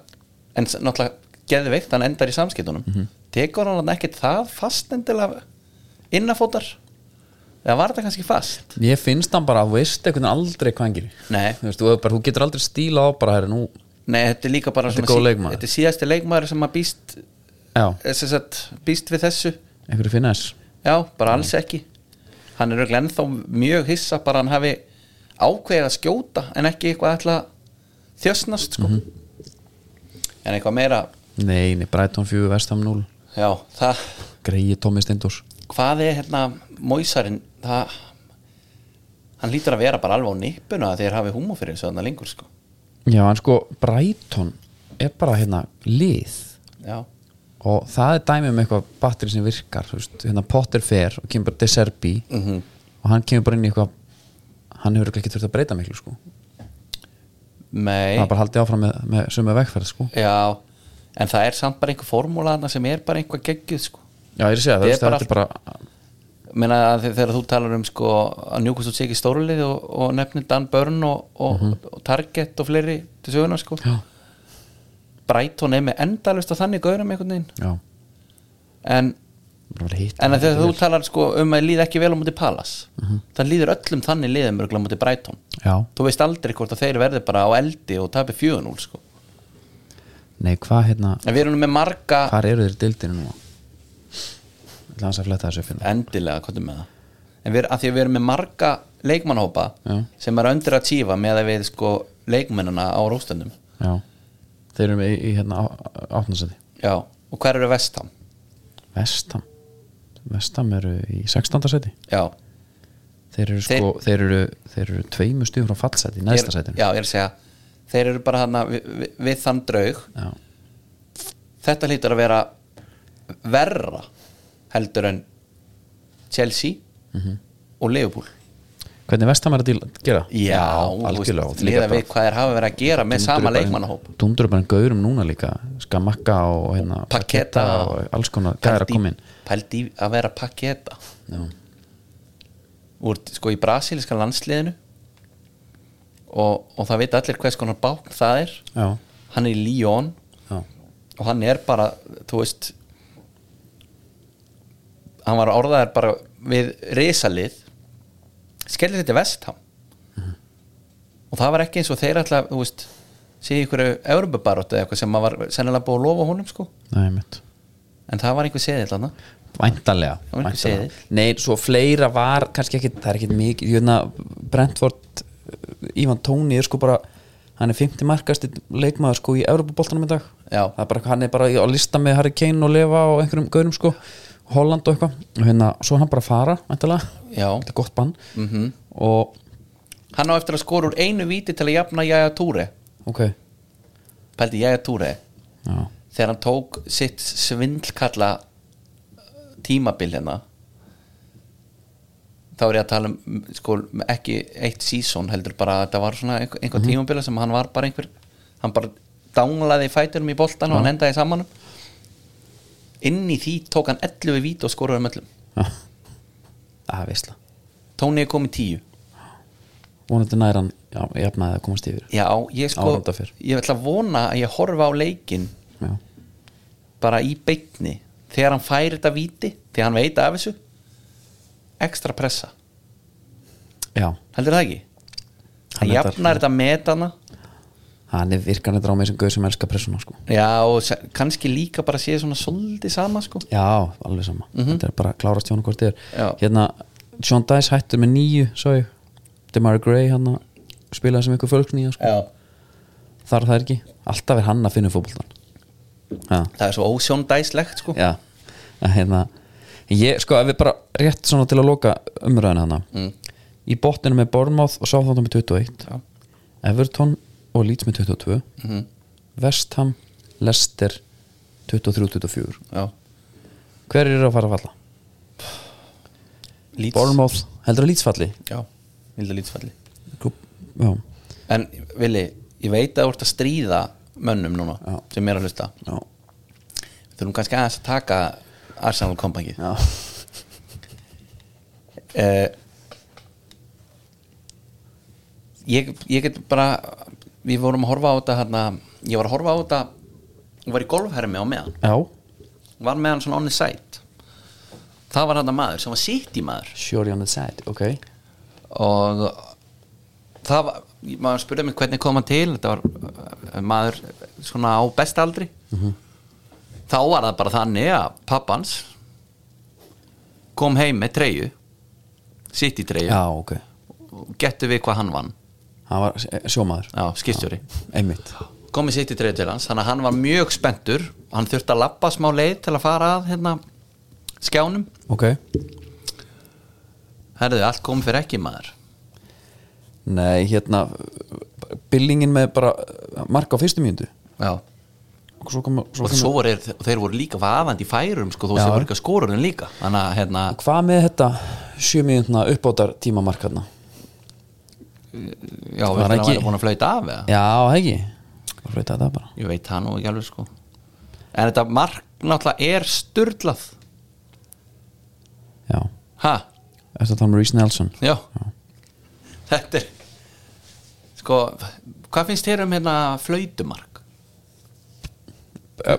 Speaker 2: en s- náttúrulega geðveikt, hann endar í samskiptunum
Speaker 1: Mhm.
Speaker 2: tekur hann ekkert það fast endilega innafótar eða var þetta kannski fast
Speaker 1: ég finnst hann bara, þú veist einhvern veginn aldrei hvað hann gerir
Speaker 2: nei,
Speaker 1: þú, veist, þú, bara, þú getur aldrei stíla á bara herri, nú,
Speaker 2: nei þetta er líka bara
Speaker 1: Þetta er
Speaker 2: svona
Speaker 1: góð
Speaker 2: sí-
Speaker 1: leikmaður.
Speaker 2: þetta er síðasti leikmaður sem maður býst,
Speaker 1: já,
Speaker 2: eh, sem sagt, býst við þessu
Speaker 1: einhverju finna þess
Speaker 2: Já, bara alls
Speaker 1: Mhm.
Speaker 2: ekki Hann er örugglega ennþá mjög hissa bara hann hafi ákveðið að skjóta en ekki eitthvað ætla að þjösnast sko.
Speaker 1: Mhm.
Speaker 2: en eitthvað meira
Speaker 1: nei, nei, Brighton 4, Vestham 0
Speaker 2: já, það,
Speaker 1: Greiði Tómi Steindors
Speaker 2: hvað er hérna Móisarinn, það hann lítur að vera bara alveg á nippuna þegar hafi húmó fyrir þessu þarna lengur sko.
Speaker 1: Já, en sko, Brighton er bara hérna lið
Speaker 2: já,
Speaker 1: og það er dæmi um eitthvað batteri sem virkar, þú veist, hérna Potter fer og kemur bara De Serbi -hmm. og hann kemur bara inn í eitthvað hann hefur örugglega ekki þurft að breyta miklu sko
Speaker 2: mei
Speaker 1: það er bara haldið áfram með, með sömu vegferð sko
Speaker 2: já, en það er samt bara einhver formúla þarna sem er bara einhver geggjuð sko.
Speaker 1: Já, ég er að segja, það,
Speaker 2: Þetta er
Speaker 1: er
Speaker 2: bara
Speaker 1: það er bara
Speaker 2: meina að þe- þegar þú talar um sko að Newcastle sé ekki stórlið og, og nefnir Dan Byrne og, og, og Target og fleiri til söguna sko
Speaker 1: Mhm. Já,
Speaker 2: Brighton er með endalust á þannig gaurum einhvern veginn
Speaker 1: já,
Speaker 2: en,
Speaker 1: bara verið hitt
Speaker 2: en að þegar þú talar sko um að líða ekki vel á múti Palace
Speaker 1: Mhm.
Speaker 2: það líður öllum þannig liðum mörgulega múti Brighton
Speaker 1: Já,
Speaker 2: þú veist aldrei hvort að þeir verði bara á eldi og tapi 4-0 sko
Speaker 1: nei, hvað hérna
Speaker 2: en við erum með marga
Speaker 1: hvar eru þeir dildinu nú? Það er hans að fletta þessu upp hérna
Speaker 2: endilega, hvað er með það en við, að því að við erum með marga leikmannhópa
Speaker 1: Já.
Speaker 2: sem er undir að tífa með að við sko leikmennina á róstendum
Speaker 1: Já, þeir eru með í, í hérna átnarsæti
Speaker 2: Já, og hver eru vestam?
Speaker 1: Vestam Vestam eru í 16. seti
Speaker 2: Já,
Speaker 1: Þeir eru, sko, þeir, eru, þeir eru tveimu stuð frá fallseti, neðsta
Speaker 2: Ég er-
Speaker 1: setinu
Speaker 2: Já, ég er að segja Þeir eru bara hana við, við, við þann draug
Speaker 1: Já.
Speaker 2: Þetta hlýtur að vera verra heldur en Chelsea
Speaker 1: Mhm.
Speaker 2: og Liverpool
Speaker 1: Hvernig vestam er að díla- gera?
Speaker 2: þú veist,
Speaker 1: algjörlega og
Speaker 2: Miðað við hvað þeir hafa verið að gera með sama leikmannahóp
Speaker 1: Dundur bara en gaurum núna líka Skamakka og hérna
Speaker 2: Paketa.
Speaker 1: og alls konar gæra
Speaker 2: Pældi-
Speaker 1: komin
Speaker 2: Pældi í að vera pakketa
Speaker 1: Já,
Speaker 2: úr sko í brasilíska landsliðinu og, og það vita allir hvers konar bákn það er
Speaker 1: já,
Speaker 2: hann er í Lyon
Speaker 1: já,
Speaker 2: og hann er bara, þú veist hann var orðaðar bara við risalið skellir þetta vestam mm og það var ekki eins og þeir alltaf, þú veist sé ykkur Európa-baróttu eða eitthvað sem maður var sennilega búið að lofa honum sko
Speaker 1: nei mitt
Speaker 2: en það var einhver seðið þarna
Speaker 1: Væntanlega,
Speaker 2: Það var einhver
Speaker 1: væntanlega.
Speaker 2: siður.
Speaker 1: Nei, svo fleira var kannski ekki, það er ekki mikið ég veitna, Brentford Ívan Tóni er sko bara hann er 50 markast leikmaður sko í Evropaboltanum í dag
Speaker 2: Já.
Speaker 1: Það er bara, hann er bara í- á lista með Harry Kane og Leva og einhverjum gaurum sko Holland og eitthvað og hérna, svo er hann bara að fara væntanlega,
Speaker 2: Já. Mhm.
Speaker 1: þetta er gott bann -hmm. og,
Speaker 2: hann á eftir að skora úr einu víti til að jafna Jæja Túri
Speaker 1: ok já,
Speaker 2: pældi Jæja Túri þegar hann tók sitt svindlkalla eh, tímabil hérna þá er ég að tala um sko, ekki eitt season heldur bara að þetta var svona einhver, einhver tímabil sem hann var bara einhver hann bara danglaði fæturum í boltan og hann endaði saman inn í því tók hann 11 vít og skoraði um öllum
Speaker 1: já það er veistla
Speaker 2: Tóni er komið 10
Speaker 1: vonandi nær hann, já, jafnaði að komast yfir
Speaker 2: já, ég sko,
Speaker 1: Áramda fyrr.
Speaker 2: ég ætla að vona að ég horfa á leikinn
Speaker 1: já,
Speaker 2: bara í beitni þegar hann fær þetta víti þegar hann veit af þessu ekstra pressa,
Speaker 1: já
Speaker 2: heldur það ekki?
Speaker 1: Hann
Speaker 2: hann
Speaker 1: endar-
Speaker 2: jafnar þetta metana
Speaker 1: hann er virkan þetta á mig sem gauð sem elskar pressuna sko
Speaker 2: já og se- kannski líka bara séð svona svolítið sama sko
Speaker 1: Já, alveg sama Þetta er bara að klárast hjá hann hvort þið
Speaker 2: Já.
Speaker 1: er Hérna, John Dice hættur með nýju Svo ég, Demari Gray hann spilaði sem einhver fölgni í það, sko.
Speaker 2: Já.
Speaker 1: þar er það ekki alltaf er hann að finna fótboltan já,
Speaker 2: það er svo ósjóndæslegt sko.
Speaker 1: já að hérna ég, sko, ef við bara rétt svona til að loka umræðina hana í botninu með Bournemouth og Southampton með 21
Speaker 2: Já.
Speaker 1: Everton og Leeds með 22 West Ham, Leicester 23-24
Speaker 2: Já.
Speaker 1: hver eru að fara að falla?
Speaker 2: Leeds.
Speaker 1: Bournemouth, heldur að Leeds falli?
Speaker 2: Já, vilja lýtsfalli
Speaker 1: já,
Speaker 2: En Vili, ég veit að þú ert að stríða mönnum núna
Speaker 1: Já.
Speaker 2: sem er að hlusta
Speaker 1: já,
Speaker 2: Við þurfum kannski aðeins að taka Arsenal kompangið
Speaker 1: já.
Speaker 2: uh, ég, ég get bara Við vorum að horfa á þetta hérna, Ég var að horfa á þetta og var í golfhermi á meðan
Speaker 1: já.
Speaker 2: Var meðan svona onnið sætt Það var hérna maður sem var sitt í maður
Speaker 1: sure on the side, ok
Speaker 2: og það var, maður spurði mig hvernig kom hann til þetta var uh, maður svona á bestaldri þá var það bara þannig að pappans kom heim með treyju sitt í treyju
Speaker 1: já, ok,
Speaker 2: og gettu við hvað hann vann
Speaker 1: hann var eh, sjómaður
Speaker 2: já, skipstjóri
Speaker 1: einmitt,
Speaker 2: komið sitt í treyju til hans þannig að hann var mjög spenntur hann þurfti að lappa smá leið til að fara að hérna, skjánum
Speaker 1: ok
Speaker 2: herðu, allt kom fyrir ekki maður
Speaker 1: nei, hérna billingin með bara eh, mark á fyrstu mjöndu
Speaker 2: já
Speaker 1: og svo kom, svo
Speaker 2: og
Speaker 1: kom
Speaker 2: svo voru þeir, þeir voru líka vaðandi í færum sko, þó
Speaker 1: Já.
Speaker 2: sem voru ekki að skora þeim líka þannig að hérna,
Speaker 1: hvað með þetta sjö mjöndna uppbótar tímamarkarna
Speaker 2: já, við
Speaker 1: Var
Speaker 2: erum
Speaker 1: ekki-
Speaker 2: ekki... búin að flauta af eða?
Speaker 1: já, hegi, reyta þetta bara
Speaker 2: ég veit það nú ekki alveg sko en þetta mark náttúrulega er sturlað
Speaker 1: já,
Speaker 2: ha,
Speaker 1: eftir að tala um Reece Nelson
Speaker 2: já, þetta er sko, hvað finnst þér um hérna flautumark?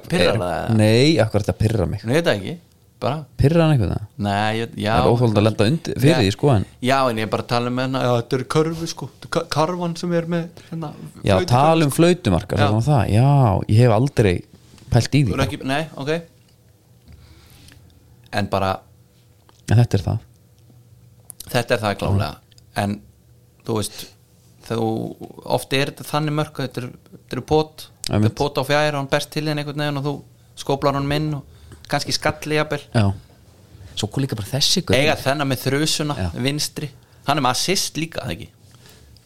Speaker 2: Pirrar það eða?
Speaker 1: nei, akkur þetta pirra mig
Speaker 2: Nú veit það ekki, bara
Speaker 1: pirra hann eitthvað það
Speaker 2: Nei, ég, já
Speaker 1: Það er óþolandi að lenda undir- fyrir
Speaker 2: Já.
Speaker 1: því, sko, en-
Speaker 2: Já, en ég er bara að tala um hérna Já, þetta eru körfu sko, Þetta er ka- karfan sem er með hérna,
Speaker 1: já,
Speaker 2: flautu-
Speaker 1: tala um flautumarkar
Speaker 2: Já.
Speaker 1: já. Það, já, ég hef aldrei pælt í
Speaker 2: Þú
Speaker 1: því
Speaker 2: eru ekki, nei, ok En bara
Speaker 1: en þetta er það
Speaker 2: Þetta er það klálega En þú veist þú, Oft er þetta þannig mörk að Þetta eru- þetta eru pot Þetta
Speaker 1: Einmitt.
Speaker 2: eru pot á fjær og hann berst til henni einhvern veginn og þú skóplar hann minn og kannski skalli jafnvel
Speaker 1: já. svo kom líka bara þessi gaur.
Speaker 2: Eiga þennan með þrösuna,
Speaker 1: Já.
Speaker 2: vinstri Hann er með assist líka, það ekki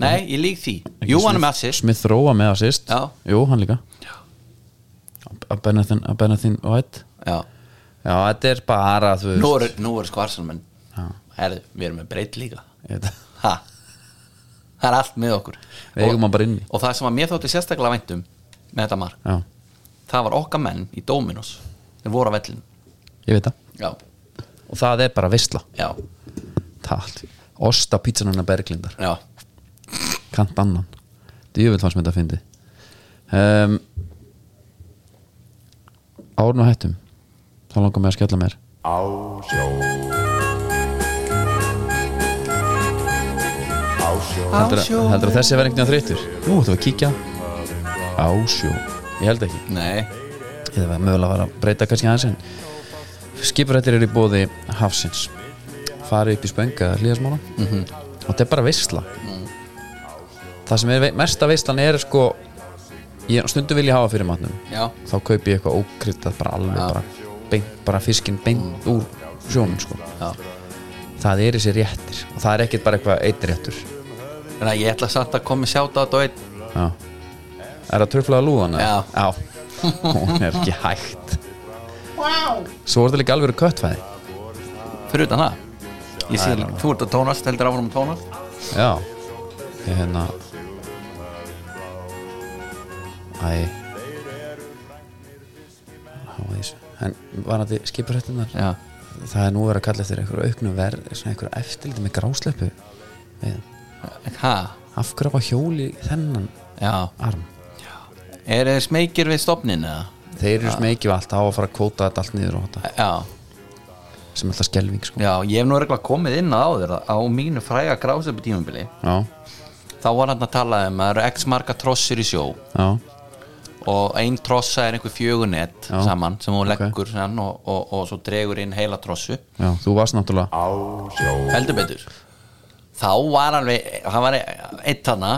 Speaker 2: Nei, ég lík því, jú hann er með assist
Speaker 1: Smith Róa með assist
Speaker 2: Já.
Speaker 1: Jú, hann líka Að Benethin, að Benethin og Ed
Speaker 2: Já,
Speaker 1: Já, þetta er bara þú veist
Speaker 2: nú eru, nú eru sko arsalmenn Herðu, við erum með breytt líka
Speaker 1: Þetta-
Speaker 2: ha. það er allt með okkur
Speaker 1: Við eigum hann bara inni.
Speaker 2: og það sem að mér þótti sérstaklega væntum með þetta mark,
Speaker 1: Já,
Speaker 2: það var okkar menn í Dominos, þeir voru á vellin
Speaker 1: ég veit það
Speaker 2: já,
Speaker 1: Og það er bara visla
Speaker 2: já,
Speaker 1: Talt Osta pítsanuna Berglindar
Speaker 2: já
Speaker 1: Kant annan Djöfull fannst mér þetta að fyndi um, Árn og hættum Þá langar mig að skella mér Heldur að, heldur að þessi verði einhvern veginn þreyttur? Nú, ætlum við að kíkja Á sjó Ég held ekki
Speaker 2: nei,
Speaker 1: Ég var mögulega að fara að breyta kannski aðeins en Skipurættir eru í bóði hafsins Farið upp í spönga hlýðasmála -hmm. Og þetta er bara veisla Það sem er vei- mesta veislan er sko ég, Stundum vil ég hafa fyrir matnum
Speaker 2: já,
Speaker 1: Þá kaupi ég eitthvað ókryddað bara alveg bara, beint, bara fiskin beint úr sjónum sko
Speaker 2: já
Speaker 1: Það er þessi réttir Og það er ekkert bara eitthvað eitt réttur
Speaker 2: þannig að ég ætla samt að koma sjátt á þetta og einn
Speaker 1: Já. Er það truflaða lúðan?
Speaker 2: Já.
Speaker 1: Já. Hún er ekki hægt Svo er þetta líka alveg köttfæði
Speaker 2: fyrir utan það Ég sé, þú ert að tónast, heldur áfram að tónast
Speaker 1: Já Ég hérna Æ Há að þessu En varandi skipurættunar
Speaker 2: Já,
Speaker 1: Það er nú verið að kalla eftir einhverju auknu verð Svona einhverju eftirliti með grásleppu Við
Speaker 2: ha,
Speaker 1: Af hverju á að hjóli þennan
Speaker 2: já
Speaker 1: arm
Speaker 2: Er þeir smekir við stopnin eða?
Speaker 1: Þeir eru smekið allt á að fara að kvóta þetta allt niður og þetta
Speaker 2: Já,
Speaker 1: Sem alltaf skelving sko
Speaker 2: já, ég hef nú regla komið inn á þér á mínu fræga grásöpu tímabili
Speaker 1: Já,
Speaker 2: þá var hann að tala um að það eru x marga trossir í sjó
Speaker 1: já,
Speaker 2: og ein trossa er einhver fjögunett
Speaker 1: Já.
Speaker 2: saman sem hún
Speaker 1: Ok.
Speaker 2: leggur sann, og, og, og svo dregur inn heila trossu
Speaker 1: já Þú varst náttúrulega
Speaker 2: heldur betur þá var alveg, hann var einn þarna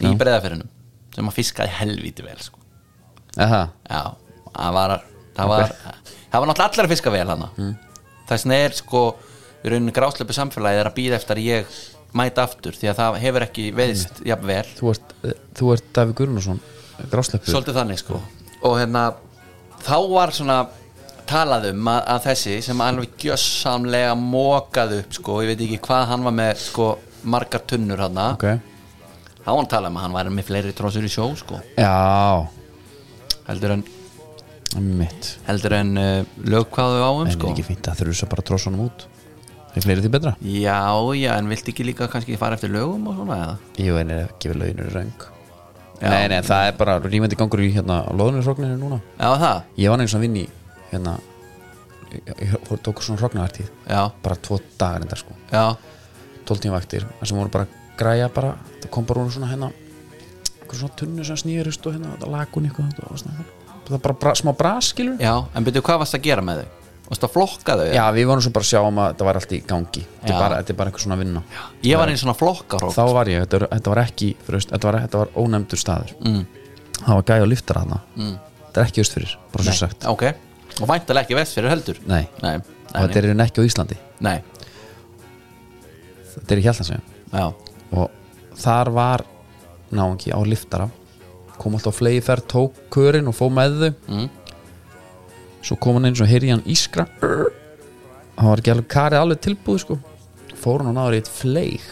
Speaker 2: í breðaferinum sem að fiskaði helvíti vel sko.
Speaker 1: Aha.
Speaker 2: já, það var það var, það var náttúrulega allar að fiska vel hana þess vegna er sko í rauninni grásleipu samfélagið er að býða eftir að ég mæta aftur því að það hefur ekki veðist jafn vel
Speaker 1: Þú ert, eh, þú ert Davík Gurunarsson Grásleppu
Speaker 2: svolítið þannig sko og hérna þá var svona talað um að, að þessi sem alveg gjössamlega mókað upp sko, ég veit ekki hvað hann var með sko margar tunnur hann
Speaker 1: Ok
Speaker 2: þá var hann talað um að hann væri með fleiri trósur í sjó sko,
Speaker 1: Já,
Speaker 2: heldur en
Speaker 1: mitt
Speaker 2: heldur en uh, lögkváðu áum
Speaker 1: En er
Speaker 2: sko
Speaker 1: ekki fínt að þurfa bara tróssunum út Er fleiri því betra?
Speaker 2: já, já, en viltu ekki líka kannski fara eftir lögum og svona eða?
Speaker 1: Jú, en er ekki við launir röng
Speaker 2: Já.
Speaker 1: Nei, nei, það er bara rýmandi gangur í hérna Lóðuninsrogninu núna
Speaker 2: já, það,
Speaker 1: Ég var eins og að vinni hérna Ég, ég fór- tók svona hrognartíð
Speaker 2: já,
Speaker 1: Bara tvo dagar enda sko
Speaker 2: já
Speaker 1: 12 tíma vaktir þar sem voru bara að græja bara það kom bara úr svona hérna einhver svona tunnu sem snýðurist og hérna þetta lakun eitthvað þetta og svona það bara bra, smá braskilur já.
Speaker 2: já, en byrju hvað varst að gera með þau? varst að flokka þau?
Speaker 1: við vorum svo bara að sjá um að þetta var allt í gangi þetta
Speaker 2: Já.
Speaker 1: er bara, þetta er bara eitthvað svona vinna já.
Speaker 2: ég var einn svona flokkarhók
Speaker 1: þá var ég, þetta, var- þetta var ekki frust, þetta, var, þetta var ónefndur staður mm. það var gæja og lyftar hana mm. þetta er ekki austfyrir, bara svo sagt
Speaker 2: ok, og væntalega ekki vest fyrir heldur
Speaker 1: nei,
Speaker 2: nei,
Speaker 1: og þetta
Speaker 2: nei,
Speaker 1: er í rauninni ekki á Íslandi
Speaker 2: nei.
Speaker 1: þetta er í Hjaltansvegjum
Speaker 2: Já.
Speaker 1: og þar var náungi á liftara kom alltaf flegi ferð, tók körin og fó með þau mm. svo kom hann eins og heyri hann ískra Urr. hann var ekki alveg karið alveg tilbúið sko. fór hann og náður í eitt fleig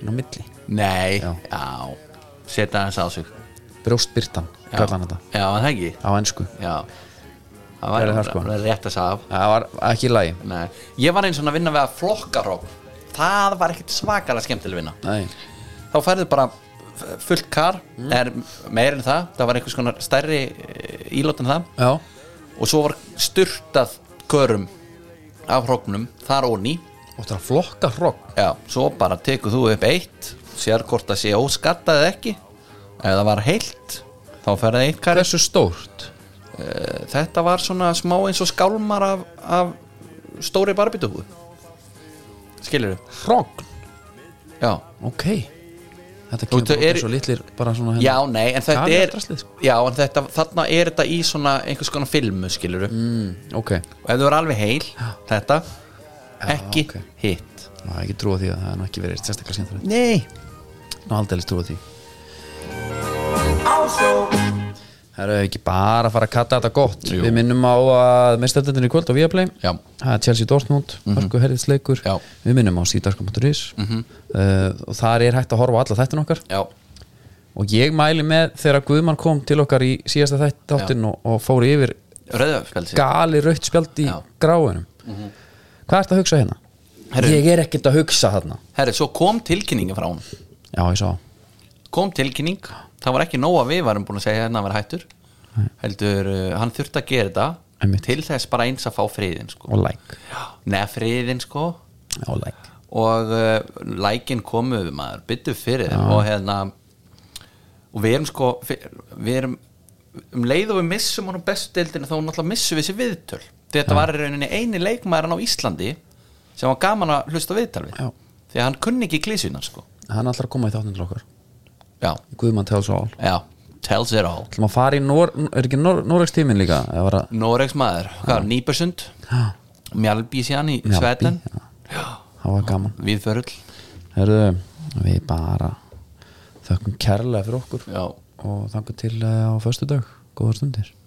Speaker 1: inn á milli
Speaker 2: nei,
Speaker 1: Já.
Speaker 2: já, setja hans á sig
Speaker 1: brjóstbyrtan,
Speaker 2: já,
Speaker 1: kallar hann þetta
Speaker 2: já, var það ekki
Speaker 1: á ensku,
Speaker 2: já, það
Speaker 1: Það
Speaker 2: var
Speaker 1: er það, sko.
Speaker 2: alveg rétt að sagða af
Speaker 1: það var ekki í lagi
Speaker 2: Nei. ég var einn svona að vinna við að flokkarhók það var ekkit svakalega skemmtileg vinna
Speaker 1: Nei.
Speaker 2: þá færðu bara f- fullt kar
Speaker 1: Mm.
Speaker 2: er meir en það, það var einhvers konar stærri eh, ílát en það
Speaker 1: já,
Speaker 2: og svo var styrtað körum af hróknum þar óni
Speaker 1: og það er að flokka hrogg
Speaker 2: Já, svo bara tekur þú upp eitt sér hvort það sé óskattað eða ekki ef það var heilt þá ferði eitt kari
Speaker 1: hversu stórt
Speaker 2: þetta var svona smá eins og skálmar af, af stóri barbitúku skilur þú?
Speaker 1: hrogg,
Speaker 2: Já,
Speaker 1: ok þetta
Speaker 2: Þú
Speaker 1: kemur bara
Speaker 2: er-
Speaker 1: er... svo litlir bara svona hérna-
Speaker 2: já, nei, en þetta
Speaker 1: Kali er
Speaker 2: er
Speaker 1: draslið, sko.
Speaker 2: já, en þetta, þarna er þetta í svona einhvers konar filmu, skilur þú
Speaker 1: mm, ok,
Speaker 2: og ef þú er alveg heil, þetta ekki
Speaker 1: ok.
Speaker 2: hitt
Speaker 1: Ná, ég ekki trúa því að það er nú ekki verið sérstaklega skemmtilegt
Speaker 2: Nei
Speaker 1: Nú aldeilis trúa því Það eru ekki bara að fara að kalla þetta gott
Speaker 2: Jú.
Speaker 1: Við minnum á að meðstöldendin í kvöld á Viaplay
Speaker 2: Já. Mhm.
Speaker 1: Það er Chelsea Dortmund, mm -hmm. Hörku Herðisleikur
Speaker 2: Já. Mhm.
Speaker 1: Við minnum á sídarska.is uh, Og þar er hægt að horfa á alla þættin okkar
Speaker 2: Já,
Speaker 1: Og ég mæli með þegar Guðmann kom til okkar í síðasta þættin og, og fór yfir
Speaker 2: rauðafspjaldsi
Speaker 1: gali rautt spjald í
Speaker 2: Já. Mhm.
Speaker 1: gráinum Hvað ertu að hugsa hérna?
Speaker 2: Herru.
Speaker 1: Ég er ekkert að hugsa þarna
Speaker 2: Herri, svo kom tilkynningin frá hún
Speaker 1: Já, ég sá
Speaker 2: kom tilkynning það var ekki nóg að við varum búin að segja hérna að vera hættur heldur, uh, hann þurfti að gera þetta
Speaker 1: Einmitt.
Speaker 2: til þess bara eins að fá friðin sko.
Speaker 1: og like
Speaker 2: neða friðin sko
Speaker 1: Já, like
Speaker 2: og uh, lækin komu við maður, byttu fyrir þeim og hérna og við erum sko fyr- við erum um leið og við missum honum bestu deildinu þá náttúrulega missum við þessi viðtöl þetta var í rauninni eini leikmaðurinn á Íslandi sem var gaman að hlusta á viðtal við
Speaker 1: Já.
Speaker 2: því að hann kunni ekki klísunar sko
Speaker 1: hann ætlar að koma í þáttin til okkar
Speaker 2: já,
Speaker 1: Guðmann tells all
Speaker 2: já, tells it all
Speaker 1: ætlum að fara í Nor er ekki Nor Noregs tíminn líka eða var að
Speaker 2: Noregs maður, hvað er Nýbersund
Speaker 1: ha,
Speaker 2: Mjálbí síðan í
Speaker 1: Mjálpi,
Speaker 2: Svetan
Speaker 1: já. það var gaman
Speaker 2: Við förull
Speaker 1: Herðu, við bara þökkum kærlega fyrir okkur
Speaker 2: Já
Speaker 1: og þangu til eh, á föstudag góðar stundir